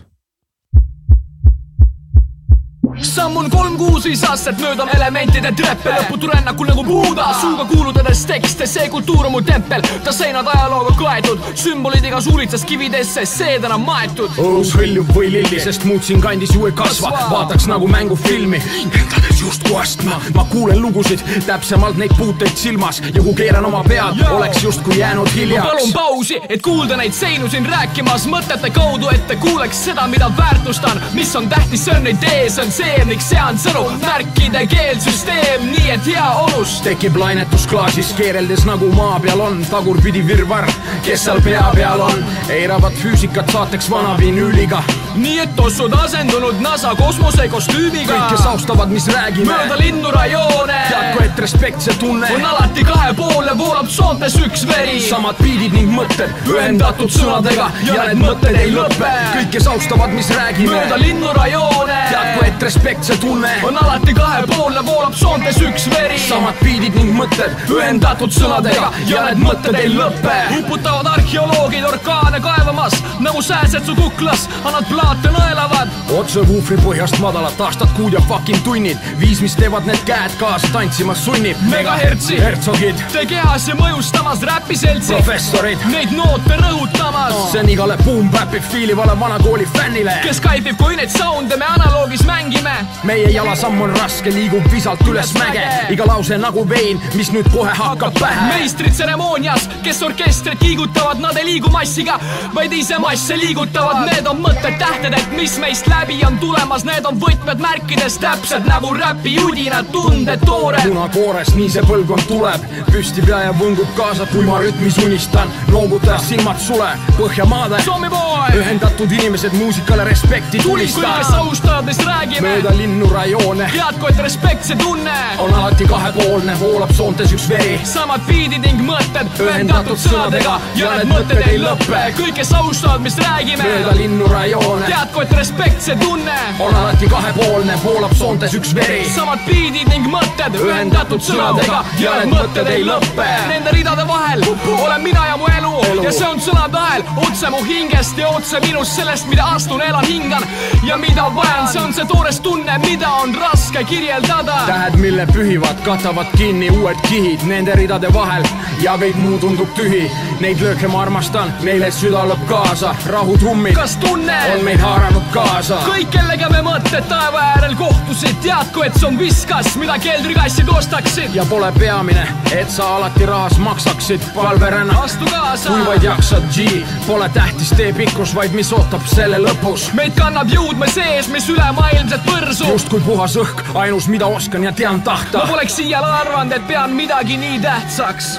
J: samm on kolm kuus viis aastat mööda elementide treppe lõputu rännakul nagu Buda suuga kuulutades tekste , see kultuur on mu tempel , ta seinad ajalooga kaetud , sümbolid igas uuritsas kividesse seedena maetud .
K: õhus hõljub või lilli , sest muud siin kandis ju ei kasva , vaataks nagu mängufilmi . hingades justkui astma , ma kuulen lugusid , täpsemalt neid puuteid silmas ja kui keeran oma pead , oleks justkui jäänud
J: ma palun
K: hiljaks .
J: pausi , et kuulda neid seinu siin rääkimas mõtete kaudu , et te kuuleks seda , mida väärtustan , mis on tähtis , see on idee , see on seem ning see on sõnum , märkide keelsüsteem , nii et heaolust .
K: tekib lainetus klaasis , keereldes nagu maa peal on , tagurpidi virvarr , kes seal pea peal on , eiravad füüsikat saateks vana vinüüliga .
J: nii et tossud asendunud NASA kosmosekostüümiga .
K: kõik , kes austavad , mis räägime ,
J: mööda linnurajoone
K: teadku , et respektse tunne
J: on alati kahe poole , voolab soontes üks veri .
K: samad biidid ning mõtted ühendatud sõnadega ja need mõtted ei lõpe . kõik , kes austavad , mis räägime ,
J: mööda linnurajoone
K: teadku , et respekt see tunne on
J: on alati kahe poole , voolab soontes üks veri .
K: samad biidid ning mõtted ühendatud sõnadega ja need mõtted ei lõpe .
J: uputavad arheoloogid orkaane kaevamas nagu sääsed su kuklas , annad plaate nõelavad .
K: otse vuufri põhjast madalad aastad , kuud ja fucking tunnid , viis , mis teevad need käed kaasa tantsima sunnib .
J: Megahertsi.
K: hertsogid ,
J: Te kehasse mõjustamas räpiseltsi ,
K: professorid ,
J: neid noote rõhutamas
K: see . on igale boom-bap'i fiilivale vanakooli fännile ,
J: kes kaibib , kui neid sound'e me analoogis mängime .
K: meie jalasamm on raske , liigub visalt üles mäge , iga lause nagu vein , mis nüüd kohe hakkab pähe .
J: meistritseremoonias , kes orkestrit kiigutavad , nad ei liigu massiga , vaid ise masse liigutavad , need on mõtted , tähted , et mis meist läbi on tulemas , need on võtmed märkides täpsed nagu räpi udinad , tunded toored .
K: punakoores , nii see põlvkond tuleb , püsti pea ja võngub kaasa , kui ma rütmis unistan , noogutas silmad sule , Põhjamaade
J: Somi poeg ,
K: ühendatud inimesed muusikale respekti
J: tulis , kuidas
K: tulistan ,
J: austajatest räägime ,
K: mööda linnu rajoone
J: headku , et respekt see tunne
K: on alati kahepoolne , voolab soontes üks veri ,
J: samad biidid ning mõtted ühendatud sõnadega ja need mõtted ei lõpe , kõik , kes austavad , mis
K: mööda
J: räägime ,
K: linnu rajoone
J: teadku , et respekt see tunne
K: on alati kahepoolne , voolab soontes üks veri ,
J: samad biidid ning mõtted ühendatud sõnadega ja need mõtted ei lõpe . Nende ridade vahel olen mina ja mu elu,
K: Elu.
J: ja see on sõnade hääl otse mu hingest ja otse minust , sellest , mida astun , elan , hingan ja mida vajan , see on see toores tunne , mida on raske kirjeldada .
K: tähed , mille pühivad , katavad kinni uued kihid nende ridade vahel ja kõik muu tundub tühi , neid lööke ma armastan , neile süda lööb kaasa , rahutrummid
J: kas tunne
K: on meid haaranud kaasa .
J: kõik , kellega me mõtted taeva äärel kohtusid , teadku , et see on viskas , mida keldrikassid ostaksid .
K: ja pole peamine , et sa alati rahas maksaksid , palveränna ,
J: astu kaasa .
K: kui vaid jaksad , G , pole tähtis tee pikkus , vaid mis ootab selle lõpus .
J: meid kannab jõudme sees , mis ülemaailmset võrsu .
K: justkui puhas õhk , ainus , mida oskan ja tean tahta
J: ma . poleks iial arvanud , et pean midagi nii tähtsaks .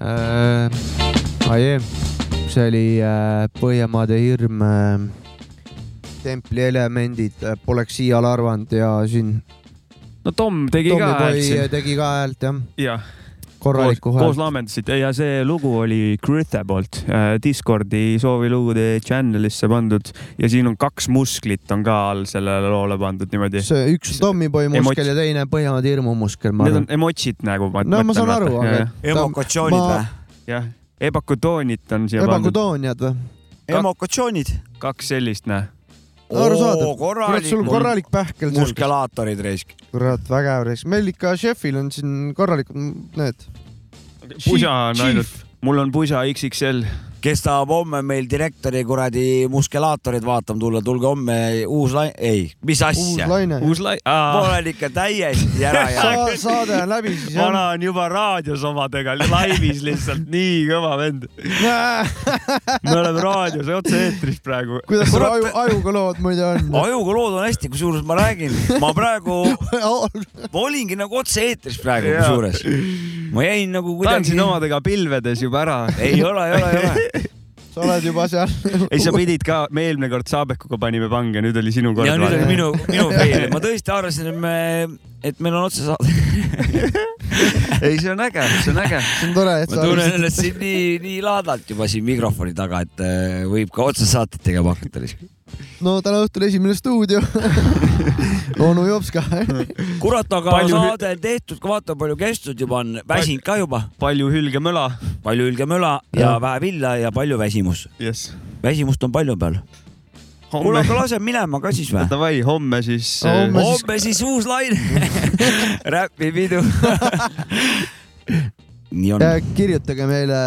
A: äh, . Aie , see oli äh, Põhjamaade hirm äh, . templi elemendid äh, poleks iial arvanud ja siin
B: no Tom tegi ka häält
A: Tommyboy
B: siin .
A: tegi ka häält jah ,
B: jah , koos ,
A: korralikku
B: koos
A: äh, häält .
B: laamendasid ja see lugu oli Grete poolt äh, Discordi soovilugude channel'isse pandud ja siin on kaks musklit on ka all sellele loole pandud niimoodi .
A: see üks on Tommyboy
B: Emots-
A: muskel ja teine Põhjamaade hirmu muskel , ma
B: Need on
A: arvan .
B: emotsid nagu .
A: no ma saan aru , aga .
L: emokatsioonid või ??
B: jah , ebakutoonid on siia pandud ,
A: ebakutooniad või ?
L: emokatsioonid ?
B: kaks sellist näe .
A: arusaadav . kurat ,
L: korralik
A: sul on korralik pähkel selgas .
L: muskelaatorid raisk .
A: kurat , vägev reiks . meil ikka šefil on siin korralikud m- need .
B: pusa on ainult , mul on pusa XXL .
L: kes tahab homme meil direktori kuradi muskelaatorid vaatama tulla , tulge homme uus lai- , ei , mis
A: uus
L: asja .
A: laine .
B: uus lai- ,
L: ma
B: aa ,
L: olen ikka täiesti ära jäänud .
A: Sa- saade on läbi siis jah .
B: vana on juba raadios omadega , laivis lihtsalt , nii kõva vend . [laughs] me oleme raadios otse-eetris praegu .
A: kuidas sul aju , ajuga lood muidu
B: [laughs]
A: on ?
L: ajuga lood on hästi , kusjuures ma räägin , ma
A: [laughs]
L: praegu , ma olingi nagu otse-eetris praegu
B: Jaa.
L: kusjuures . ma jäin nagu kuidagi
B: tantsid . omadega pilvedes juba ära .
L: ei ole , ei ole , ei ole .
A: sa oled juba seal .
B: ei , sa pidid ka , me eelmine kord Saabekuga panime pange , nüüd oli sinu kord
L: ja . nüüd on
A: vaadata.
L: minu ,
B: [laughs]
L: minu fail , ma tõesti arvasin , et me , et meil on otsesaade .
B: [laughs] ei , see on äge , see on äge .
A: [laughs] see on tore , et
L: ma
A: sa
L: tunnen ennast siin nii , nii laadalt juba siin mikrofoni taga , et äh, võib ka otsesaateid tegema hakata lihtsalt .
A: no täna õhtul esimene stuudio . [laughs] onu jops ka .
B: [laughs]
L: kurat , aga
B: Palju
L: palju...
B: hü-
L: saade on tehtud , vaata palju kestnud juba on , väsinud ka juba ,
B: palju hülgemöla .
L: palju hülgemöla ja vähe villa ja palju väsimus .
B: jess .
L: väsimust on palju peal .
C: kuule , aga
B: [laughs]
C: lase minema ka siis või ?
B: Davai , homme siis . eh,
C: homme siis uus
B: [laughs]
C: laine . räpipidu . nii on .
A: kirjutage meile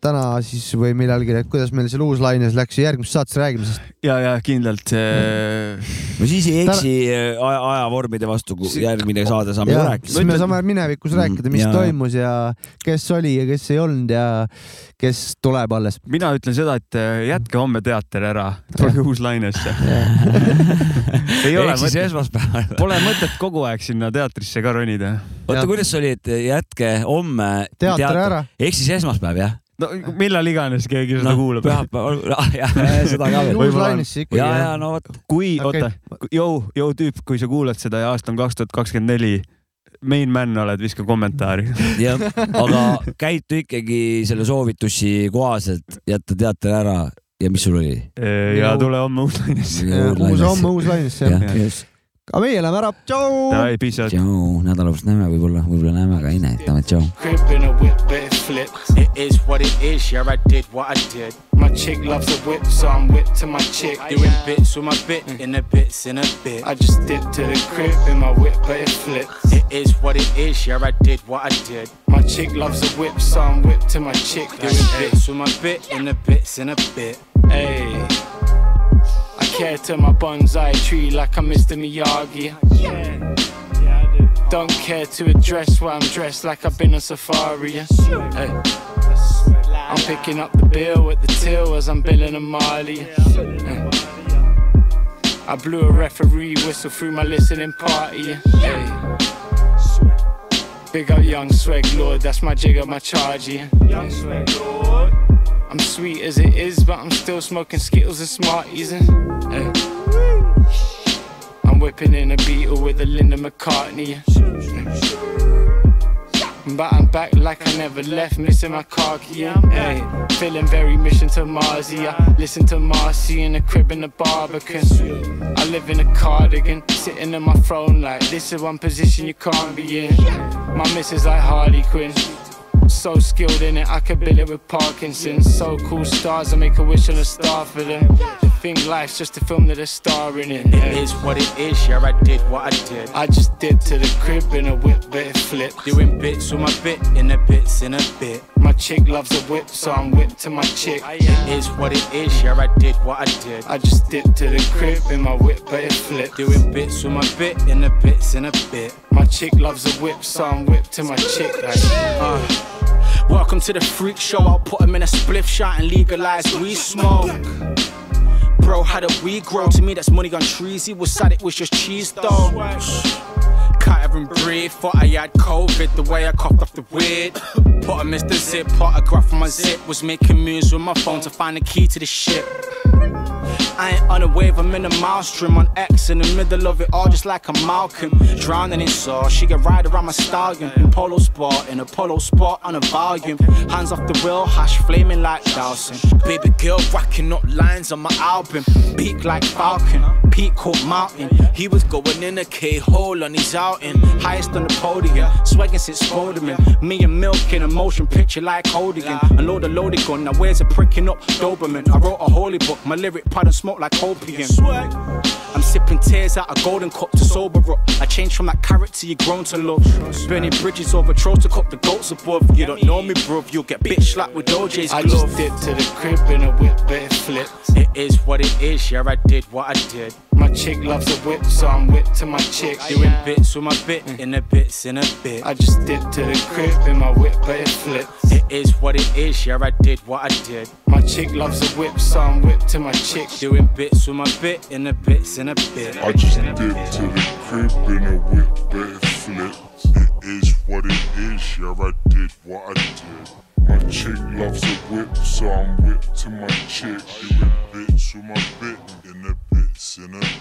A: täna siis või millalgi , et kuidas meil seal uus laines läks ja järgmises saates räägime sellest .
B: ja , ja kindlalt . eh,
C: no siis ei eksi äh, aja , ajavormide vastu , kui järgmine saade saame
A: Jah, siis me
C: rääkida .
A: saame minevikus rääkida , mis
C: ja-
A: toimus ja kes oli ja kes ei olnud ja kes tuleb alles .
B: mina ütlen seda , et äh, jätke homme teater ära , tulge uus lainesse . [laughs] [laughs] ei ole
C: Ehk siis esmaspäeval .
B: Pole mõtet kogu aeg sinna teatrisse ka ronida .
C: oota , kuidas see oli , et jätke homme
B: Teater ära.
C: ehk siis esmaspäv jah ?
B: no millal iganes keegi seda kuulab .
C: [laughs] pühapäeval , Ah,
B: [laughs]
C: jah , seda ka veel . ja , ja no vot .
B: kui
C: Okei.
B: okay. , oota , jõu , jõu tüüp , kui sa kuulad seda ja aasta on kaks tuhat kakskümmend neli , main man oled , viska kommentaari .
C: [laughs] jah , aga käitu ikkagi selle soovitusi kohaselt , jätta teater ära ja mis sul oli ?
B: ja tule homme uus lainesse .
A: uus homme uus lainesse jah
C: jah , just .
A: aga meie läheme ära , tšau .
B: Davai , peace out .
C: tšau , nädala pärast näeme võib-olla , võib-olla näeme , aga ei näe , ütleme tšau .
M: Crippin' a whip backflip. It is what it is, yeah, I did what I did. My chick loves a whip, so I'm whipped to my chick. Doing bits with my bit, in a bits, in a bit. I just dipped to the crib in my whip, but it flips. It is what it is, yeah, I did what I did. My chick loves a whip, so I'm whipped to my chick. Doing bits with my bit, in a bits, in a bit. Hey. I care to my bonsai tree like I'm Mr. Miyagi. Don't care to address why I'm dressed like I've been on safari. yeah. Hey. I'm picking up the bill with the till as I'm billing a Marley. Hey. I blew a referee whistle through my listening party. yeah. Hey. Big up Young Swag Lord, that's my jig up my charge. yeah. I'm sweet as it is, but I'm still smoking Skittles and Smarties. And, eh. I'm whipping in a beetle with a Linda McCartney. But I'm back like I never left, missing my car key. Hey, feeling very mission to Marzi. I listen to Marcy in the crib in the Barbican. I live in a cardigan, sitting in my throne like this is one position you can't be in. My missus like Harley Quinn. So skilled in it, I could build it with Parkinson's. So cool stars, I make a wish on a star for them. They think life's just a film that a star in it. It is what it is, yeah, I did what I did. I just did to the crib in a whip, but it flipped. Doing bits with my bit, in a bits, in a bit. My chick loves a whip, so I'm whipped to my chick. It is what it is, yeah, I did what I did. I just did to the crib in my whip, but it flipped. Doing bits with my bit, in a bits, in a bit. My chick loves a whip, so I'm whipped to my chick. Like, uh.
N: Welcome to the freak show. I'll put him in a spliff shot and legalize weed smoke. Bro, how do we grow? To me, that's money gone trees. He was sad it was just cheese though. Can't even breathe. Thought I had COVID the way I coughed off the weed. Put a Mr. Zip, autograph from my zip. Was making moves with my phone to find the key to the ship. I ain't on a wave, I'm in a maelstrom on X in the middle of it all, just like a Malcolm. Drowning in saw, she can ride around my stallion in polo sport, in a polo sport on a volume. Hands off the wheel, hash flaming like Dawson. Baby girl racking up lines on my album, peak like Falcon, peak called Mountain. He was going in a K hole on his outing, highest on the podium, swagging since Spoderman. Me and Milk in a motion picture like Hodigan. Unload a loaded gun, now where's a pricking up Doberman? I wrote a holy book, my lyric pad and smoke like opium. I'm sipping tears out a golden cup to sober up. I changed from that carrot to you grown to love. Burning bridges over trolls to cop the goats above. You don't know me, bruv, you'll get bitch slapped with OJ's glove.
M: I just dip to the crib in a whip, but it flips.
N: It is what it is, yeah, I did what I did.
M: My chick loves a whip, so I'm whipped to my chick.
N: Doing bits with my bit, in a bits, in a bit.
M: I just dip to the crib in my whip, but it flips.
N: It is what it is, yeah, I did what I did.
M: My chick loves a whip, so I'm whipped to my chick.
N: Doing bits with my bit, in a bits, in a bit.
G: I just dip to the crib in a whip, but it flips. It is what it is, yeah, I did what I did. My chick loves a whip, so I'm whipped to my chick. Doing bits with my bit in the bits in a